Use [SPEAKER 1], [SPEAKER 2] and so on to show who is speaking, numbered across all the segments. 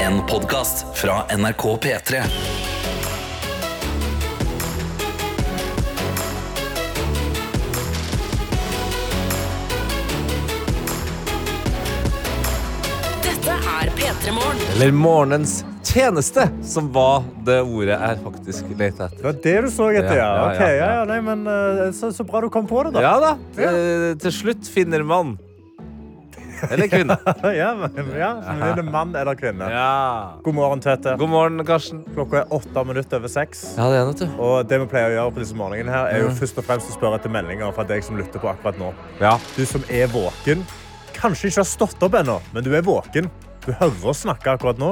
[SPEAKER 1] En podcast fra NRK P3
[SPEAKER 2] Dette er P3 Morgen.
[SPEAKER 3] Eller morgenens tjeneste, som var det ordet jeg faktisk lette etter.
[SPEAKER 4] Det var det du så etter,
[SPEAKER 3] Ja,
[SPEAKER 4] ja.
[SPEAKER 3] ja,
[SPEAKER 4] Ok,
[SPEAKER 3] ja,
[SPEAKER 4] ja,
[SPEAKER 3] ja.
[SPEAKER 4] ja, nei, men eh, så, så bra du kom på det, da.
[SPEAKER 3] Ja da. eh, Til slutt finner man. Eller kvinne.
[SPEAKER 4] ja, men, ja. men Er det mann eller kvinne?
[SPEAKER 3] Ja.
[SPEAKER 4] God morgen, Tete.
[SPEAKER 3] God morgen, Karsten.
[SPEAKER 4] Klokka er åtte minutter over seks.
[SPEAKER 3] Ja, det er det, du.
[SPEAKER 4] Og det vi pleier å gjøre på disse morgenene her, er jo først og fremst å spørre etter meldinger fra deg som lytter på akkurat nå.
[SPEAKER 3] Ja.
[SPEAKER 4] Du som er våken, kanskje ikke har stått opp ennå, men du er våken. Du hører oss snakke akkurat nå.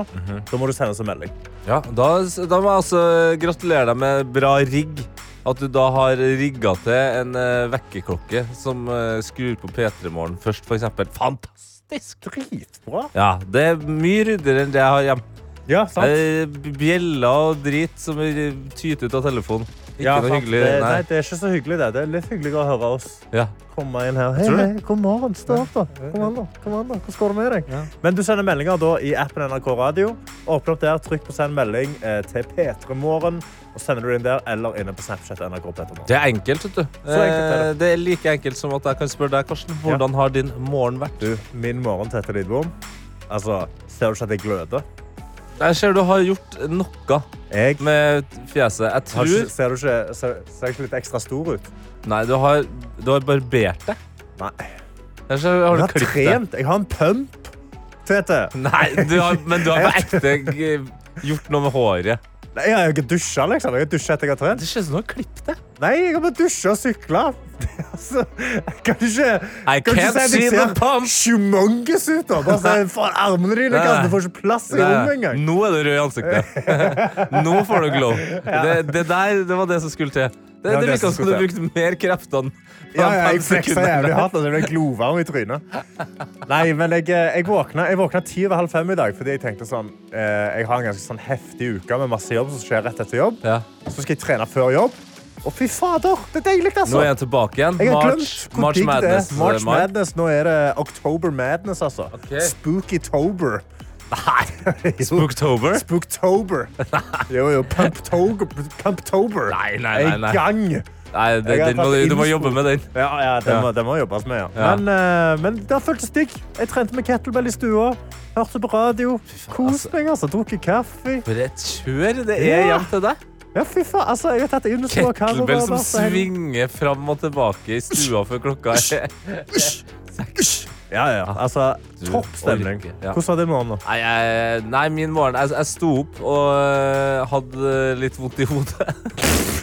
[SPEAKER 4] Da må du sende oss en melding.
[SPEAKER 3] ja da, da må jeg også gratulere deg med bra rigg. At du da har rigga til en eh, vekkerklokke som eh, skrur på P3 Morgen først, f.eks. Fantastisk!
[SPEAKER 4] Dritbra.
[SPEAKER 3] Ja, det er mye ryddigere enn det jeg har hjemme.
[SPEAKER 4] Ja, sant?
[SPEAKER 3] Eh, Bjeller og drit som tyter ut av telefonen. Ikke
[SPEAKER 4] ja,
[SPEAKER 3] noe
[SPEAKER 4] sant.
[SPEAKER 3] hyggelig.
[SPEAKER 4] Det,
[SPEAKER 3] Nei.
[SPEAKER 4] nei, det er ikke så hyggelig, det. Det er litt hyggeligere å høre oss.
[SPEAKER 3] Ja.
[SPEAKER 4] Kom meg inn her. Hei,
[SPEAKER 3] Tror du?
[SPEAKER 4] hei, god morgen. Stå opp, da. Kom an, da. Kom an, da. Hvordan går det med deg?
[SPEAKER 3] Ja.
[SPEAKER 4] Men du sender meldinger da i appen NRK Radio. Åpne opp der, trykk på send melding eh, til P3morgen. Og sender du inn der eller inne på Snapchat NRK P3morgen.
[SPEAKER 3] Det er enkelt, vet du.
[SPEAKER 4] Så enkelt er det.
[SPEAKER 3] Eh, det er like enkelt som at jeg kan spørre deg, Karsten. Hvordan har din morgen vært?
[SPEAKER 4] Du, min morgen, Tete Lidbom. Altså, ser du ikke at jeg gløder?
[SPEAKER 3] Jeg ser du har gjort noe
[SPEAKER 4] Jeg
[SPEAKER 3] med fjeset. Jeg
[SPEAKER 4] har
[SPEAKER 3] tror
[SPEAKER 4] ikke, ser, du ikke, ser, ser jeg ikke litt ekstra stor ut?
[SPEAKER 3] Nei, du har, du har barbert deg.
[SPEAKER 4] Nei.
[SPEAKER 3] Jeg ser, har
[SPEAKER 4] Jeg
[SPEAKER 3] du
[SPEAKER 4] har
[SPEAKER 3] klippet deg.
[SPEAKER 4] trent. Jeg har en pump, Tete.
[SPEAKER 3] Nei, du har, men du har på ekte g- gjort noe med håret.
[SPEAKER 4] Nei, Jeg har ikke dusja, liksom. Jeg har dusja etter jeg har trent.
[SPEAKER 3] Det ser ut som du har klippet deg.
[SPEAKER 4] Nei, jeg har bare dusja og sykla. Altså, jeg kan ikke
[SPEAKER 3] I
[SPEAKER 4] kan ikke
[SPEAKER 3] can't
[SPEAKER 4] si at jeg
[SPEAKER 3] see the
[SPEAKER 4] ser
[SPEAKER 3] pump.
[SPEAKER 4] Humongous ut, da. Bare se, faen, armene dine
[SPEAKER 3] Nei.
[SPEAKER 4] Karsten, Du får ikke plass i rommet
[SPEAKER 3] Nei,
[SPEAKER 4] engang.
[SPEAKER 3] Nå er du rød i ansiktet. Nå får du glow. Det, det der det var det som skulle til. Det,
[SPEAKER 4] var
[SPEAKER 3] det
[SPEAKER 4] det
[SPEAKER 3] virka som
[SPEAKER 4] som
[SPEAKER 3] du
[SPEAKER 4] skulle
[SPEAKER 3] brukte mer kreftene. på
[SPEAKER 4] Ja,
[SPEAKER 3] de
[SPEAKER 4] ja,
[SPEAKER 3] fem
[SPEAKER 4] jeg fleksa
[SPEAKER 3] sekundene.
[SPEAKER 4] jævlig hardt. Altså, jeg ble glovarm i trynet. Nei, men jeg, eh, jeg, våkna, jeg våkna ti over halv fem i dag fordi jeg tenkte sånn eh, Jeg har en ganske sånn heftig uke med masse jobb som skjer rett etter jobb.
[SPEAKER 3] Ja.
[SPEAKER 4] Så skal jeg trene før jobb. Å, fy fader! Det er deilig,
[SPEAKER 3] Nå
[SPEAKER 4] altså.
[SPEAKER 3] er jeg tilbake igjen.
[SPEAKER 4] Jeg har
[SPEAKER 3] March,
[SPEAKER 4] glemt hvor
[SPEAKER 3] March
[SPEAKER 4] digg det
[SPEAKER 3] Madness. eh,
[SPEAKER 4] er. March
[SPEAKER 3] Mark.
[SPEAKER 4] Madness, Nå er det October Madness, altså.
[SPEAKER 3] Ok.
[SPEAKER 4] Spookytober. Nei!
[SPEAKER 3] Spooktober?
[SPEAKER 4] Spooktober. Jo, jo. Pumptober. Pumptober.
[SPEAKER 3] Nei, nei, nei, nei.
[SPEAKER 4] En gang.
[SPEAKER 3] Nei, det,
[SPEAKER 4] Jeg har
[SPEAKER 3] den må, du
[SPEAKER 4] tatt
[SPEAKER 3] må
[SPEAKER 4] innspo-
[SPEAKER 3] jobbe med den.
[SPEAKER 4] Ja, ja, det,
[SPEAKER 3] Ja.
[SPEAKER 4] Må, det må jobbes med, ja.
[SPEAKER 3] Ja.
[SPEAKER 4] Men, eh, men det har føltes digg. Jeg trente med kettlebell i stua. Hørte på radio. Kost meg, altså. Drukket kaffe.
[SPEAKER 3] For et kjør det er
[SPEAKER 4] Ja.
[SPEAKER 3] hjem til deg.
[SPEAKER 4] Ja, fy faen. Altså, jeg har tatt inn og så
[SPEAKER 3] Kettlebell som
[SPEAKER 4] coverbar, så jeg-
[SPEAKER 3] svinger fram og tilbake i stua før klokka er
[SPEAKER 4] Ja, ja. Altså,
[SPEAKER 3] Du
[SPEAKER 4] topp stemning.
[SPEAKER 3] orker, ja.
[SPEAKER 4] Hvordan var det i morgen, da?
[SPEAKER 3] Nei, jeg, nei min morgen jeg, jeg sto opp og øh, hadde litt vondt i hodet.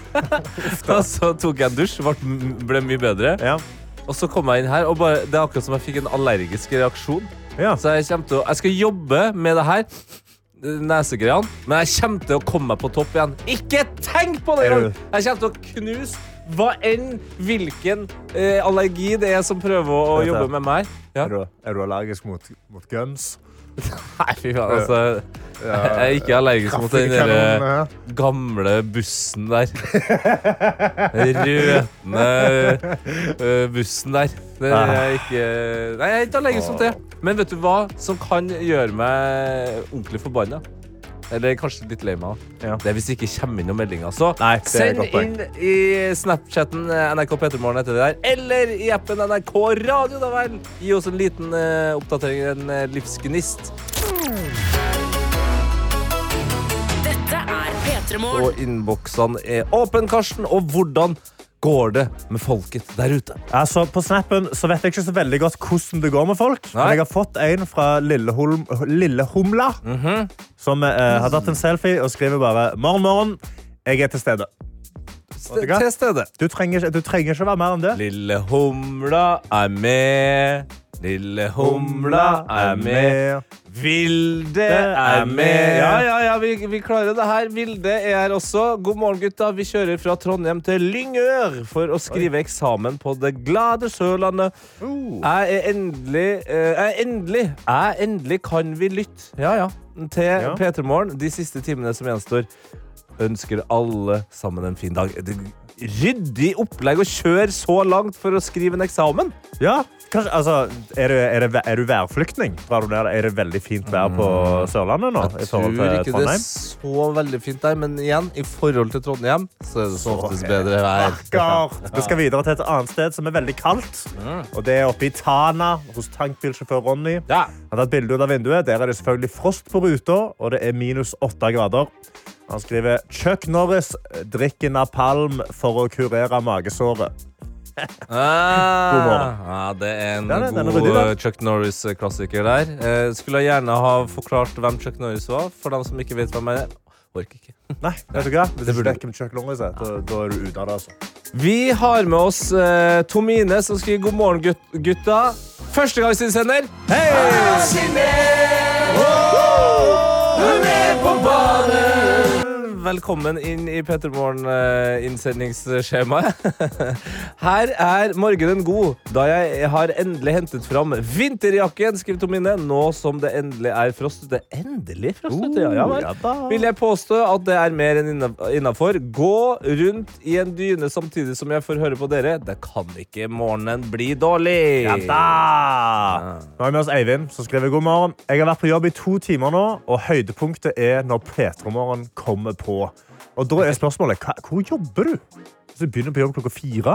[SPEAKER 3] og så tok jeg en dusj, ble, ble mye bedre.
[SPEAKER 4] Ja.
[SPEAKER 3] Og så kom jeg inn her, og bare, det er akkurat som jeg fikk en allergisk reaksjon.
[SPEAKER 4] ja.
[SPEAKER 3] Så jeg, kommer til å, jeg skal jobbe med det her, nesegreiene, men jeg kommer til å komme meg på topp igjen. Ikke tenk på det
[SPEAKER 4] Er
[SPEAKER 3] engang!
[SPEAKER 4] du-
[SPEAKER 3] Jeg kommer til å knuse hva enn hvilken eh, allergi det er som prøver å
[SPEAKER 4] Vet jeg.
[SPEAKER 3] jobbe med meg. Ja.
[SPEAKER 4] Er, du, er du allergisk mot, mot guns?
[SPEAKER 3] Nei, fy faen, altså. Jeg er ikke allergisk mot den eh,
[SPEAKER 4] Trafikkanonene
[SPEAKER 3] derre
[SPEAKER 4] her.
[SPEAKER 3] gamle bussen der. Den Røtende ø, øh, bussen der. Det er
[SPEAKER 4] Ah.
[SPEAKER 3] jeg ikke Nei, jeg er ikke allergisk mot det. Men vet du hva som kan gjøre meg ordentlig forbanna? Eller kanskje litt lei meg. også.
[SPEAKER 4] Ja.
[SPEAKER 3] Det er hvis det ikke kommer inn noen meldinger. Så
[SPEAKER 4] Nei, det er et
[SPEAKER 3] send
[SPEAKER 4] godt poeng.
[SPEAKER 3] inn i Snapchatten eh, NRK Petermorgen etter det der, eller i appen NRK Radio, da vel! Gi oss en liten eh, oppdatering, en eh, livsgnist.
[SPEAKER 2] Dette er P3 Morgen.
[SPEAKER 3] og innboksene er åpen, Karsten. Og hvordan går det med folket der ute?
[SPEAKER 4] Altså, på snappen så vet jeg ikke så veldig godt hvordan det går med folk.
[SPEAKER 3] Nei.
[SPEAKER 4] Men jeg har fått en fra Lilleholm, Lillehumla
[SPEAKER 3] Mhm.
[SPEAKER 4] som eh, har tatt en selfie og skriver bare «Morgen, morgen, jeg er til stede».
[SPEAKER 3] Ste-
[SPEAKER 4] hva?
[SPEAKER 3] Til stede.
[SPEAKER 4] Du trenger, ikke- du trenger ikke være mer enn det.
[SPEAKER 3] Lille humla er med. Lille humla er med. Vilde er med. Ja, ja, ja, vi, vi klarer det her. Vilde er her også. God morgen, gutta. Vi kjører fra Trondheim til Lyngør for å skrive eksamen på det glade Sørlandet.
[SPEAKER 4] Oh.
[SPEAKER 3] Jeg er endelig eh, Jeg er endelig Jeg er endelig kan vi lytte Ja, ja Til
[SPEAKER 4] Ja.
[SPEAKER 3] P3 Morgen De siste timene som gjenstår Ønsker alle sammen en fin dag Det- ryddig opplegg å kjøre så langt for å skrive en eksamen.
[SPEAKER 4] Ja, kanskje, altså, er, du, er, det, væ- er du værflyktning? Drar du ned? Er det veldig fint vær på
[SPEAKER 3] Mm.
[SPEAKER 4] Sørlandet nå? i forhold til Trondheim?
[SPEAKER 3] så veldig fint der, men igjen, i forhold til Trondheim, så er det som oftest bedre
[SPEAKER 4] Stakkar! Vi skal videre til et annet sted som er veldig kaldt. Og Det er oppe i Tana, hos tankbilsjåfør Ronny.
[SPEAKER 3] Mm. Ja.
[SPEAKER 4] Han har tatt bilde ut av vinduet. Der er det selvfølgelig frost på ruta, og det er minus åtte grader. Han skriver Chuck Norris drikker napalm for å kurere magesåret. God morgen.
[SPEAKER 3] Ah, Ja, det er en
[SPEAKER 4] Ja, det- den er
[SPEAKER 3] god
[SPEAKER 4] ryddig, da.
[SPEAKER 3] eh, Chuck Norris-klassiker der. Eh, skulle jeg gjerne ha forklart hvem Chuck Norris var, for dem som ikke vet hvem jeg er. Orker ikke.
[SPEAKER 4] Nei, vet du hva? Hvis
[SPEAKER 3] Det
[SPEAKER 4] du
[SPEAKER 3] burde-
[SPEAKER 4] ikke med Chuck Norris, er, da, da er du ute av det. altså.
[SPEAKER 3] Vi har med oss eh, Tomine, som skriver 'God morgen, gut gutta'. Førstegangsinnsender. Velkommen inn i P3 Morgen-innsendingsskjemaet. Her er morgenen god, da jeg har endelig hentet fram vinterjakken, skriver Tomine. Nå som det endelig er frost ute. Endelig frost ute, ja, ja vel.
[SPEAKER 4] Oh, ja da.
[SPEAKER 3] Vil jeg påstå at det er mer enn innafor. Gå rundt i en dyne samtidig som jeg får høre på dere. Det kan ikke morgenen bli dårlig.
[SPEAKER 4] Ja da! Nå har vi med oss Eivind, som skriver god morgen. Jeg har vært på jobb i to timer nå, og høydepunktet er når P3morgen kommer på. Og da er spørsmålet, hva, hvor jobber du? Hvis du begynner på jobb klokka fire?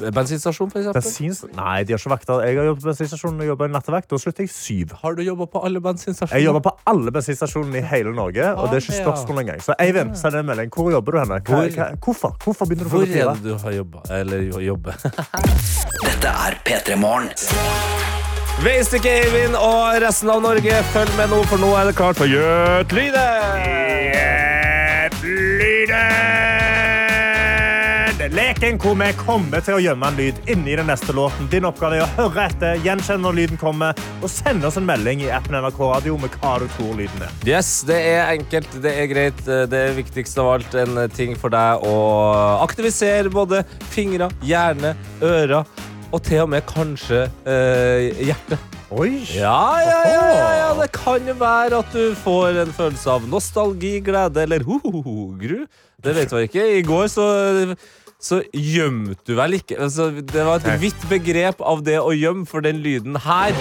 [SPEAKER 3] Bensinstasjon, for eksempel.
[SPEAKER 4] Bensins... Nei, de har ikke vakter. Jeg har jobbet på bensinstasjonen, jeg jobber i nattevakt. Da slutter jeg syv.
[SPEAKER 3] Har du jobba på alle bensinstasjoner?
[SPEAKER 4] Jeg jobber på alle bensinstasjonene i hele Norge, og det er ikke
[SPEAKER 3] Ah, ja.
[SPEAKER 4] spørsmål engang. Så Eivind, send en melding. Hvor jobber du henne? Hva,
[SPEAKER 3] Hvor-
[SPEAKER 4] hva, hvorfor? Hvorfor begynner du
[SPEAKER 3] Hvor er
[SPEAKER 4] klokka fire?
[SPEAKER 3] det du har jobba? Eller jo- jobbe?
[SPEAKER 1] Dette er P3 Morgen.
[SPEAKER 3] Veist ikke Eivind og resten av Norge, følg med nå, for nå er det klart for Gjøt lyde!
[SPEAKER 4] Lyden! Leken hvor vi kommer til å gjemme en lyd inni den neste låten. Din oppgave er å høre etter, gjenkjenne når lyden kommer, og sende oss en melding i appen NRK Radio med hva du tror lyden er.
[SPEAKER 3] Yes, det er enkelt, det er greit. Det er viktigst av alt en ting for deg å aktivisere både fingre, hjerne, ører og til og med kanskje eh, hjertet.
[SPEAKER 4] Oi!
[SPEAKER 3] Ja, ja, ja, ja, ja, det kan jo være at du får en følelse av nostalgi, glede eller ho-ho-ho, gru. Det vet vi ikke. I går så så gjemte du vel ikke altså, Det var et vidt begrep av det å gjemme for den lyden her.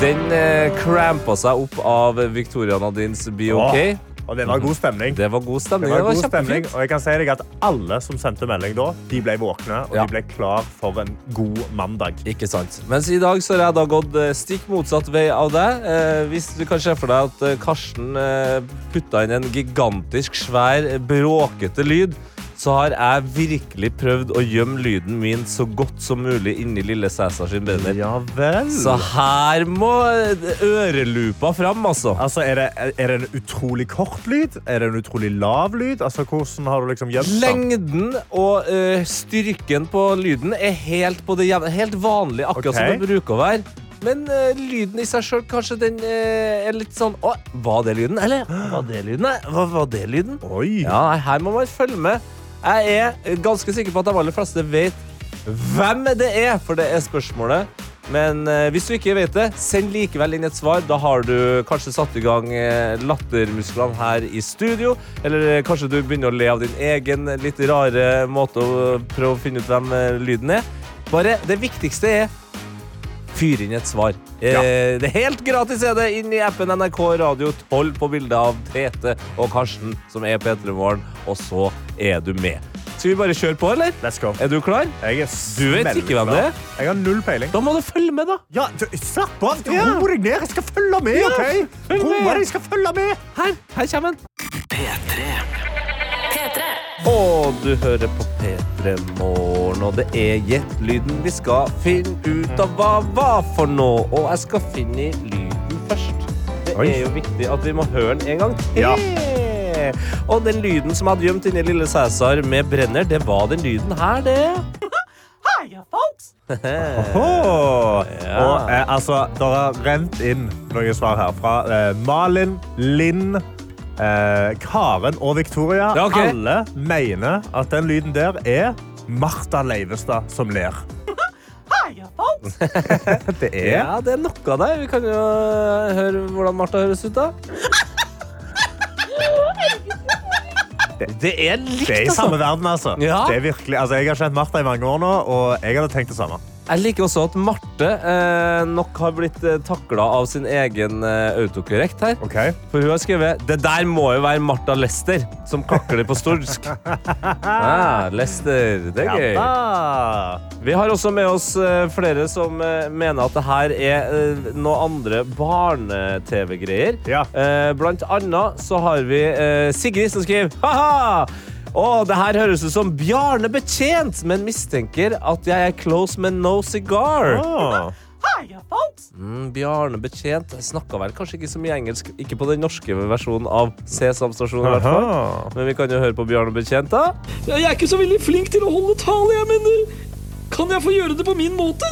[SPEAKER 3] Den eh, crampa seg opp av Victoria Nadines Be OK.
[SPEAKER 4] Og det var god stemning.
[SPEAKER 3] Det var god
[SPEAKER 4] Det
[SPEAKER 3] stemning.
[SPEAKER 4] var god stemning,
[SPEAKER 3] kjempefint.
[SPEAKER 4] og jeg kan si deg at Alle som sendte melding da, de ble våkne og
[SPEAKER 3] Ja.
[SPEAKER 4] de ble klar for en god mandag.
[SPEAKER 3] Ikke sant. Mens i dag så har jeg da gått eh, stikk motsatt vei av deg. Eh, hvis du kan se for deg at eh, Karsten eh, putta inn en gigantisk, svær, eh, bråkete lyd, så har jeg virkelig prøvd å gjemme lyden min så godt som mulig inni lille Cæsar sin bedre.
[SPEAKER 4] Ja vel.
[SPEAKER 3] Så her må eh, ørelupa fram, altså.
[SPEAKER 4] Altså, er, det, er det en utrolig kort lyd? Er det en utrolig lav lyd? Altså, hvordan har du liksom gjemt den?
[SPEAKER 3] Lengden og eh, styrken på lyden er helt på det jevne. Helt vanlig, akkurat
[SPEAKER 4] Ok.
[SPEAKER 3] som det bruker å være. Men eh, lyden i seg sjøl, kanskje den eh, er litt sånn Å, var det lyden? Eller var det lyden? Nei, Hva var det lyden?
[SPEAKER 4] Oi!
[SPEAKER 3] Ja, nei, her må man følge med. Jeg er ganske sikker på at de aller fleste vet hvem det er, for det er spørsmålet. Men eh, hvis du ikke vet det, send likevel inn et svar. Da har du kanskje satt i gang eh, lattermusklene her i studio. Eller eh, kanskje du begynner å le av din egen litt rare måte å prøve å finne ut hvem eh, lyden er. Bare det viktigste er Fyr inn et svar. Eh, det er helt gratis er det inn i appen NRK Radio 12 på bildet av Tete og Karsten, som er P3 Morgen, og så er du med. Skal vi bare kjøre på, eller?
[SPEAKER 4] Let's go.
[SPEAKER 3] Er du klar?
[SPEAKER 4] Jeg er
[SPEAKER 3] Du vet ikke hvem
[SPEAKER 4] smellklar.
[SPEAKER 3] det er?
[SPEAKER 4] Jeg har null peiling.
[SPEAKER 3] Da må du følge med, da.
[SPEAKER 4] Ja, du, slapp av! Du,
[SPEAKER 3] Ja.
[SPEAKER 4] Ro deg ned! Jeg skal følge med,
[SPEAKER 3] Ja,
[SPEAKER 4] OK?
[SPEAKER 3] følg
[SPEAKER 4] Ro
[SPEAKER 3] med.
[SPEAKER 4] deg, jeg skal følge med!
[SPEAKER 3] Her, her kommer den.
[SPEAKER 2] P3.
[SPEAKER 3] Og du hører på P3 Morgen, og det er gjettlyden vi skal finne ut av hva var for noe. Og jeg skal finne lyden først. Det
[SPEAKER 4] Oi.
[SPEAKER 3] er jo viktig at vi må høre den en gang til.
[SPEAKER 4] Ja.
[SPEAKER 3] Og den lyden som jeg hadde gjemt inni Lille Cæsar med brenner, det var den lyden her, det.
[SPEAKER 4] Åh.
[SPEAKER 3] Ja.
[SPEAKER 4] Og eh, altså, det har rent inn noen svar her fra eh, Malin, Linn eh, Karen og Victoria.
[SPEAKER 3] Ja, ok.
[SPEAKER 4] Alle mener at den lyden der er Martha Leivestad som ler. det er
[SPEAKER 3] Ja, det er noe av deg. Vi kan jo høre hvordan Martha høres ut, da. Det er likt,
[SPEAKER 4] Det er i samme verden, altså.
[SPEAKER 3] Ja.
[SPEAKER 4] Det er virkelig, altså jeg har kjent Martha i mange år nå, og jeg hadde tenkt det samme.
[SPEAKER 3] Jeg liker også at Marte eh, nok har blitt eh, takla av sin egen eh, autokorrekt her.
[SPEAKER 4] Ok?
[SPEAKER 3] For hun har skrevet Det der må jo være Martha Lester som kakler på stordsk. Ah, Lester. Det er gøy.
[SPEAKER 4] da.
[SPEAKER 3] Vi har også med oss eh, flere som eh, mener at det her er eh, noe andre barne-TV-greier.
[SPEAKER 4] Ja.
[SPEAKER 3] Eh, Blant annet så har vi eh, Sigrid som skriver Haha! Å, det her høres ut som Bjarne Betjent, men mistenker at jeg er close med no cigar.
[SPEAKER 4] Ah.
[SPEAKER 3] Mm, Bjarne Betjent snakka vel kanskje ikke så mye engelsk, ikke på den norske versjonen av Sesamstasjonen. i hvert fall.
[SPEAKER 4] Aha.
[SPEAKER 3] Men vi kan jo høre på Bjarne Betjent, da.
[SPEAKER 5] Ja, Jeg er ikke så veldig flink til å holde tale, jeg, men eh, kan jeg få gjøre det på min måte?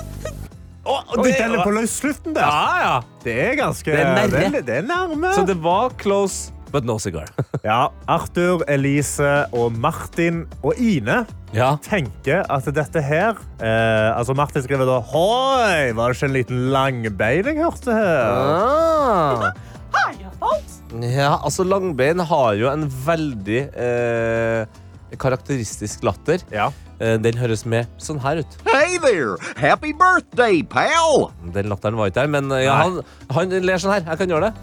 [SPEAKER 4] Oi, den er på løsslutten der.
[SPEAKER 3] Ja, ja.
[SPEAKER 4] Det er ganske
[SPEAKER 3] Det er nærme.
[SPEAKER 4] Det er, det er nærme.
[SPEAKER 3] Så det var close, but no cigar.
[SPEAKER 4] Ja, Arthur, Elise og Martin og Ine
[SPEAKER 3] ja.
[SPEAKER 4] tenker at dette her eh, Altså, Martin skriver da Hoi, var det ikke en liten langbein jeg hørte her?
[SPEAKER 3] Ah. Ja, altså Langbein har jo en veldig eh, karakteristisk latter.
[SPEAKER 4] Ja.
[SPEAKER 3] Eh, Den høres med sånn her ut.
[SPEAKER 6] Hey there! Happy birthday, pal!
[SPEAKER 3] Den latteren var ikke der, men eh, ja, han, han ler sånn her. Jeg kan gjøre det.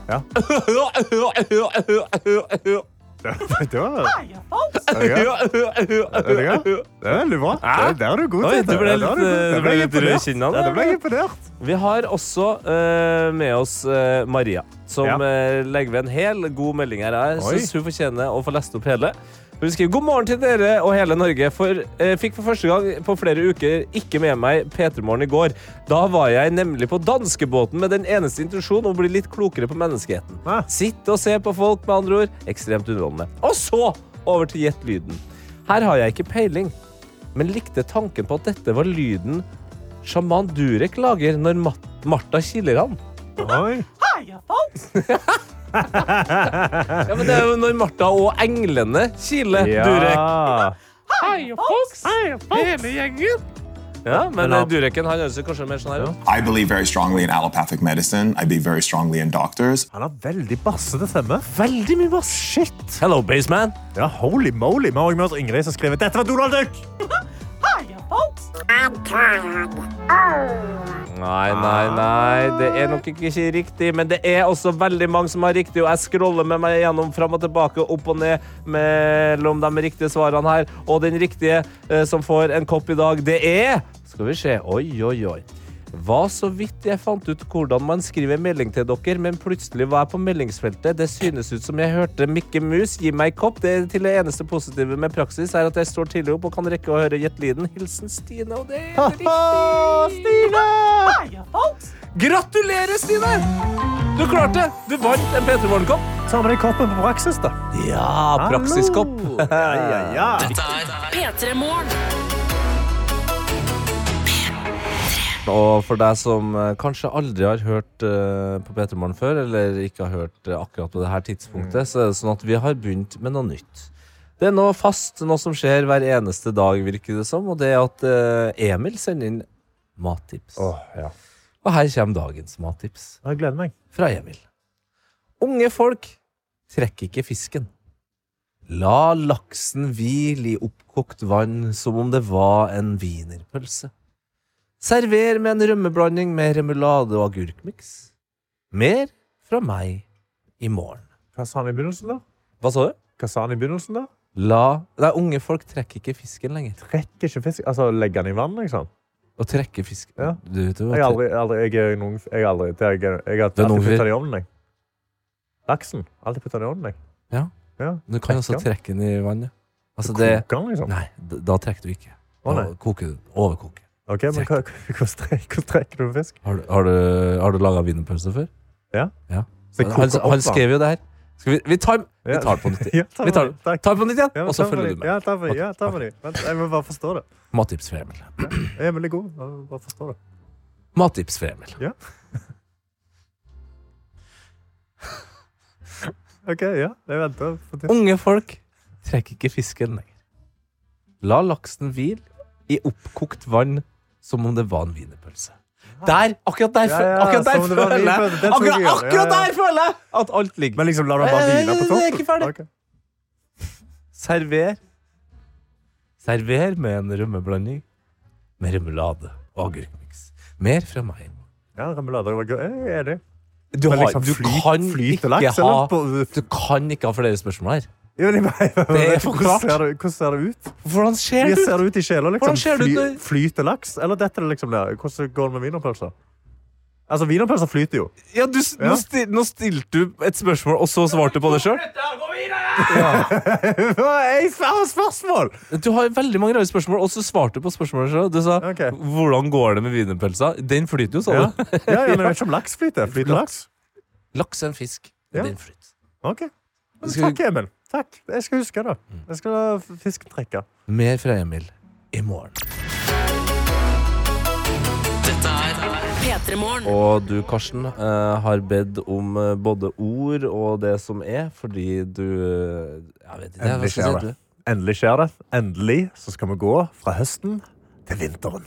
[SPEAKER 4] Ja. Det var Er det gøy? Det er veldig bra. Det- Der er du god.
[SPEAKER 3] Oi,
[SPEAKER 4] Tete.
[SPEAKER 3] du ble
[SPEAKER 4] Der er
[SPEAKER 3] litt,
[SPEAKER 4] god.
[SPEAKER 3] eh,
[SPEAKER 4] Der
[SPEAKER 3] du ble
[SPEAKER 4] jeg
[SPEAKER 3] litt rød i
[SPEAKER 4] imponert.
[SPEAKER 3] kinnene.
[SPEAKER 4] Ja, det ble jeg imponert.
[SPEAKER 3] Vi har også eh, med oss eh, Maria, som
[SPEAKER 4] Ja.
[SPEAKER 3] eh, legger ved en hel god melding her. Jeg
[SPEAKER 4] Oi.
[SPEAKER 3] syns hun fortjener å få lest opp hele. Hun skriver god morgen til dere og hele Norge. For eh, fikk for første gang på flere uker ikke med meg P3morgen i går. Da var jeg nemlig på danskebåten med den eneste intensjon om å bli litt klokere på menneskeheten.
[SPEAKER 4] Hæ?
[SPEAKER 3] Sitte og se på folk, med andre ord. Ekstremt underholdende. Og så over til Gjett lyden. Her har jeg ikke peiling, men likte tanken på at dette var lyden sjaman Durek lager når Mat Martha kiler han.
[SPEAKER 4] Oi.
[SPEAKER 3] Ja, men Det er jo når Martha og englene kiler Durek.
[SPEAKER 4] Ja.
[SPEAKER 3] Ja, Men
[SPEAKER 4] Men
[SPEAKER 3] eh, Dureken han høres jo kanskje mer sånn her ut.
[SPEAKER 7] I believe very strongly in allopathic medicine. I believe very strongly in doctors.
[SPEAKER 4] Han har veldig bassete stemme.
[SPEAKER 3] Veldig mye bass. Shit. Hello, baseman.
[SPEAKER 4] Ja, holy moly. Vi har også med oss Ingrid som skriver Dette var Donald Duck!
[SPEAKER 3] Nei, nei, nei. Det er nok ikke ikke riktig, men det er også veldig mange som har riktig, og jeg scroller med meg gjennom fram og tilbake, opp og ned mellom de riktige svarene her. Og den riktige eh, som får en kopp i dag, det er Skal vi se. Oi, oi, oi. Var så vidt jeg fant ut hvordan man skriver melding til dere, men plutselig var jeg på meldingsfeltet. Det synes ut som jeg hørte Mikke Mus gi meg kopp. Det til det eneste positive med praksis er at jeg står tidlig opp og kan rekke å høre Jet Liden. Hilsen Stine, og det er riktig. Gratulerer, Stine! Du klarte det! Du vant en P3 Morgenkopp.
[SPEAKER 4] Ta med deg koppen på praksis, da.
[SPEAKER 3] Ja, praksiskopp.
[SPEAKER 4] Hallo. Ja, ja, ja.
[SPEAKER 2] P3 Morgen.
[SPEAKER 3] Og for deg som eh, kanskje aldri har hørt eh, på P3 Morgen før, eller ikke har hørt eh, akkurat på det her
[SPEAKER 4] Mm.
[SPEAKER 3] tidspunktet, så er det sånn at vi har begynt med noe nytt. Det er noe fast, noe som skjer hver eneste dag, virker det som, og det er at eh, Emil sender inn mattips.
[SPEAKER 4] Åh, ja.
[SPEAKER 3] Og her kommer dagens mattips.
[SPEAKER 4] Jeg gleder meg.
[SPEAKER 3] fra Emil. Unge folk trekker ikke fisken. La laksen hvile i oppkokt vann som om det var en wienerpølse. Server med en rømmeblanding med remulade og agurkmiks. Mer fra meg i morgen.
[SPEAKER 4] Hva sa han i begynnelsen, da?
[SPEAKER 3] Hva sa du?
[SPEAKER 4] Hva sa han i begynnelsen da?
[SPEAKER 3] La Nei, unge folk trekker ikke fisken lenger.
[SPEAKER 4] Trekker ikke fisk. Altså, legger han i vann, liksom?
[SPEAKER 3] Å trekke fisken
[SPEAKER 4] Ja.
[SPEAKER 3] du, du,
[SPEAKER 4] Jeg har aldri, aldri, jeg er en ung, jeg er aldri, det er- jeg, er- jeg har
[SPEAKER 3] er en ung
[SPEAKER 4] alltid
[SPEAKER 3] fyr.
[SPEAKER 4] puttet den i ovnen, jeg. Laksen. Alltid puttet den i ovnen, jeg.
[SPEAKER 3] Ja.
[SPEAKER 4] Ja.
[SPEAKER 3] Du kan også
[SPEAKER 4] trekke
[SPEAKER 3] trekke den i vannet. Altså, det
[SPEAKER 4] Koker den, liksom?
[SPEAKER 3] Nei, d- da trekker du ikke.
[SPEAKER 4] Å,
[SPEAKER 3] Da
[SPEAKER 4] nei.
[SPEAKER 3] koker du. Overkoker.
[SPEAKER 4] Ok, men hva, hvordan trekker, hvordan trekker du fisk?
[SPEAKER 3] Har du, har du, har du laga wienerpølse før?
[SPEAKER 4] Ja. Så
[SPEAKER 3] Han, han, han skrev jo det her. Skal vi, vi, tar, vi tar det på nytt.
[SPEAKER 4] Ja, ta
[SPEAKER 3] Vi tar,
[SPEAKER 4] med det. Takk.
[SPEAKER 3] tar det på nytt igjen,
[SPEAKER 4] Ja, men
[SPEAKER 3] og så
[SPEAKER 4] ta med
[SPEAKER 3] følger
[SPEAKER 4] de.
[SPEAKER 3] du med.
[SPEAKER 4] Ja, ta med de. Ja, ta med de. Vent, jeg må bare forstå det.
[SPEAKER 3] Mattips fra Emil.
[SPEAKER 4] Jeg er veldig god. Jeg må bare forstå det.
[SPEAKER 3] Mattips fra Emil.
[SPEAKER 4] Ok, ja. Jeg venter. på det.
[SPEAKER 3] Unge folk trekker ikke fisken lenger. La laksen hvile i oppkokt vann som om det var en wienerpølse. Der! Akkurat der,
[SPEAKER 4] Ja,
[SPEAKER 3] fø-
[SPEAKER 4] ja,
[SPEAKER 3] akkurat der
[SPEAKER 4] som om det var en
[SPEAKER 3] føler jeg
[SPEAKER 4] wienerpølse. Den tok
[SPEAKER 3] akkurat,
[SPEAKER 4] jeg, ja,
[SPEAKER 3] akkurat
[SPEAKER 4] ja.
[SPEAKER 3] der føler Eh, jeg at alt ligger.
[SPEAKER 4] Men liksom, la det bare
[SPEAKER 3] Nei, nei,
[SPEAKER 4] hvile på
[SPEAKER 3] nei,
[SPEAKER 4] topp.
[SPEAKER 3] det er ikke ferdig.
[SPEAKER 4] Ok.
[SPEAKER 3] Server. Server med en rømmeblanding med remulade og agurkmiks. Mer fra meg.
[SPEAKER 4] Ja, remulade var gøy. Jeg er enig.
[SPEAKER 3] Du,
[SPEAKER 4] Men
[SPEAKER 3] har,
[SPEAKER 4] liksom
[SPEAKER 3] du
[SPEAKER 4] flyt-
[SPEAKER 3] kan
[SPEAKER 4] flyt
[SPEAKER 3] ikke
[SPEAKER 4] og laks,
[SPEAKER 3] ha
[SPEAKER 4] eller? På-
[SPEAKER 3] Du kan ikke ha flere spørsmål her.
[SPEAKER 4] Jeg vil bare-
[SPEAKER 3] er for
[SPEAKER 4] Hvordan
[SPEAKER 3] klart.
[SPEAKER 4] ser det- hvordan ser det ut?
[SPEAKER 3] Hvordan ser
[SPEAKER 4] Jeg
[SPEAKER 3] det
[SPEAKER 4] ser
[SPEAKER 3] ut?
[SPEAKER 4] det ut i sjela, liksom?
[SPEAKER 3] Hvordan ser det ut
[SPEAKER 4] Fly,
[SPEAKER 3] når-
[SPEAKER 4] flyter laks? Eller dette er liksom det? Hvordan går det med wienerpølser? Altså, wienerpølser flyter jo.
[SPEAKER 3] Ja, du, s-
[SPEAKER 4] Ja.
[SPEAKER 3] Nå, sti, nå stilte du et spørmål, og så svarte du på det sjøl.
[SPEAKER 4] Jeg har spørsmål!
[SPEAKER 3] Du har veldig mange rare spørsmål, og så svarte du på spørsmålet selv. Du sa
[SPEAKER 4] Ok.
[SPEAKER 3] 'Hvordan går det med wienerpølsa?' Den flyter jo, sa
[SPEAKER 4] Ja.
[SPEAKER 3] du.
[SPEAKER 4] Ja, ja, men jeg vet ikke om laks flyter. Flyter laks?
[SPEAKER 3] Laks er en fisk.
[SPEAKER 4] Ja.
[SPEAKER 3] Den flyter.
[SPEAKER 4] Ok. Men
[SPEAKER 3] Skal vi- Mm.
[SPEAKER 4] Takk, Emil. Takk. Jeg skal huske det. Jeg skal la fisken trekke.
[SPEAKER 3] Mer fra Emil i morgen.
[SPEAKER 2] P3 Morgen.
[SPEAKER 3] Og du, Karsten, eh, har bedt om eh, både ord og det som er, fordi du eh, Jeg vet ikke. Hva skal
[SPEAKER 4] Endelig
[SPEAKER 3] jeg
[SPEAKER 4] skjer
[SPEAKER 3] si?
[SPEAKER 4] det.
[SPEAKER 3] Du-
[SPEAKER 4] Endelig skjer det. Endelig så skal vi gå fra høsten til vinteren.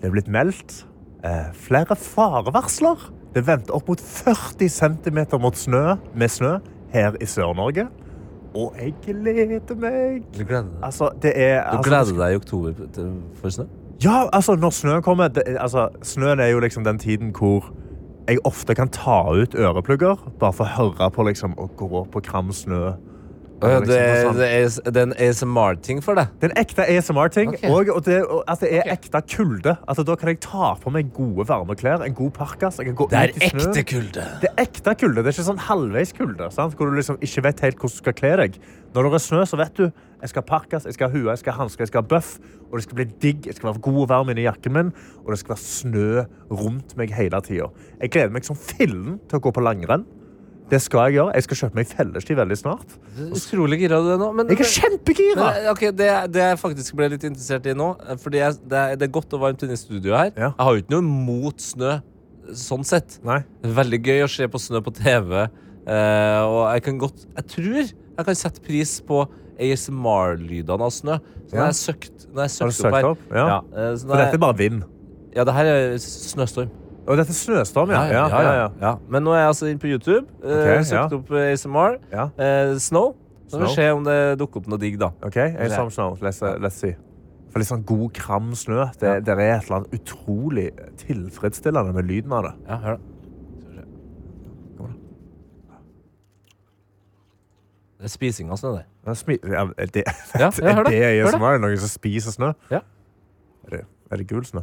[SPEAKER 4] Det er blitt meldt eh, flere farevarsler. Det er ventet opp mot 40 cm mot snø, med snø her i Sør-Norge. Og jeg gleder meg!
[SPEAKER 3] Du gleder deg.
[SPEAKER 4] Altså, det er
[SPEAKER 3] Du
[SPEAKER 4] altså,
[SPEAKER 3] gleder deg i oktober p- til, for snø?
[SPEAKER 4] Ja, altså, når snøen kommer det, altså, Snøen er jo liksom den tiden hvor jeg ofte kan ta ut øreplugger bare for å høre på liksom, å gå på kram snø.
[SPEAKER 3] Å ja,
[SPEAKER 4] Liksom,
[SPEAKER 3] det, er-
[SPEAKER 4] og sånn.
[SPEAKER 3] det, er, det er en ASMR-ting for deg.
[SPEAKER 4] Det er en ekte ASMR-ting,
[SPEAKER 3] Ok.
[SPEAKER 4] og, og, det- og at det er ekte kulde. Altså, da kan jeg ta på meg gode varmeklær, en god parkas. Jeg kan gå
[SPEAKER 3] Det er
[SPEAKER 4] ut i snøen.
[SPEAKER 3] ekte kulde.
[SPEAKER 4] Det er ekte kulde. Det er ikke sånn halvveis kulde, sant? hvor du liksom ikke vet helt hvordan du skal kle deg. Når det er snø, så vet du jeg skal ha parkas, jeg skal ha hue, jeg skal ha hansker, jeg skal ha bøff. Og det skal bli digg. Jeg skal være god og varm inni jakken min, og det skal være snø rundt meg hele tida. Jeg gleder meg som fillen til å gå på langrenn. Det skal jeg gjøre. Jeg skal kjøpe meg felleski veldig snart.
[SPEAKER 3] Utrolig gira du er nå. Men,
[SPEAKER 4] Jeg er kjempegira!
[SPEAKER 3] Men, ok, det, det jeg faktisk ble litt interessert i nå eh, Fordi jeg, det, er, det er godt og varmt inne i studio her
[SPEAKER 4] Ja.
[SPEAKER 3] Jeg har jo ikke noe mot snø Sånn sett
[SPEAKER 4] Nei.
[SPEAKER 3] Det er Veldig gøy å se på snø på TV eh, Og jeg kan godt Jeg tror jeg kan sette pris på ASMR-lydene av snø Så når
[SPEAKER 4] Ja.
[SPEAKER 3] jeg søkt, når jeg
[SPEAKER 4] Har du
[SPEAKER 3] søkt opp her
[SPEAKER 4] søkt opp? Ja.
[SPEAKER 3] eh, så
[SPEAKER 4] For
[SPEAKER 3] når
[SPEAKER 4] dette
[SPEAKER 3] jeg,
[SPEAKER 4] er bare vind.
[SPEAKER 3] Ja, det her er snøstorm
[SPEAKER 4] Og dette er snøstorm, ja. Ja, ja, ja.
[SPEAKER 3] ja. Men nå er jeg altså inne på YouTube eh,
[SPEAKER 4] Ok,
[SPEAKER 3] Søkt
[SPEAKER 4] ja.
[SPEAKER 3] opp eh, ASMR
[SPEAKER 4] Ja.
[SPEAKER 3] eh, Snow Så får
[SPEAKER 4] Snow.
[SPEAKER 3] vi se om det dukker opp noe digg da
[SPEAKER 4] OK, jeg er sammen nå. Let's, uh, let's see. For litt sånn god, kram snø. Det, det er et eller annet utrolig tilfredsstillende med lyden av det.
[SPEAKER 3] Ja, hør da. Det er spising av snø, det.
[SPEAKER 4] Det er smi- ja, er det,
[SPEAKER 3] Ja, jeg hører
[SPEAKER 4] er
[SPEAKER 3] det.
[SPEAKER 4] det
[SPEAKER 3] Hører
[SPEAKER 4] ASMR? Er det noen som spiser snø?
[SPEAKER 3] Ja.
[SPEAKER 4] Er det, er det gul snø?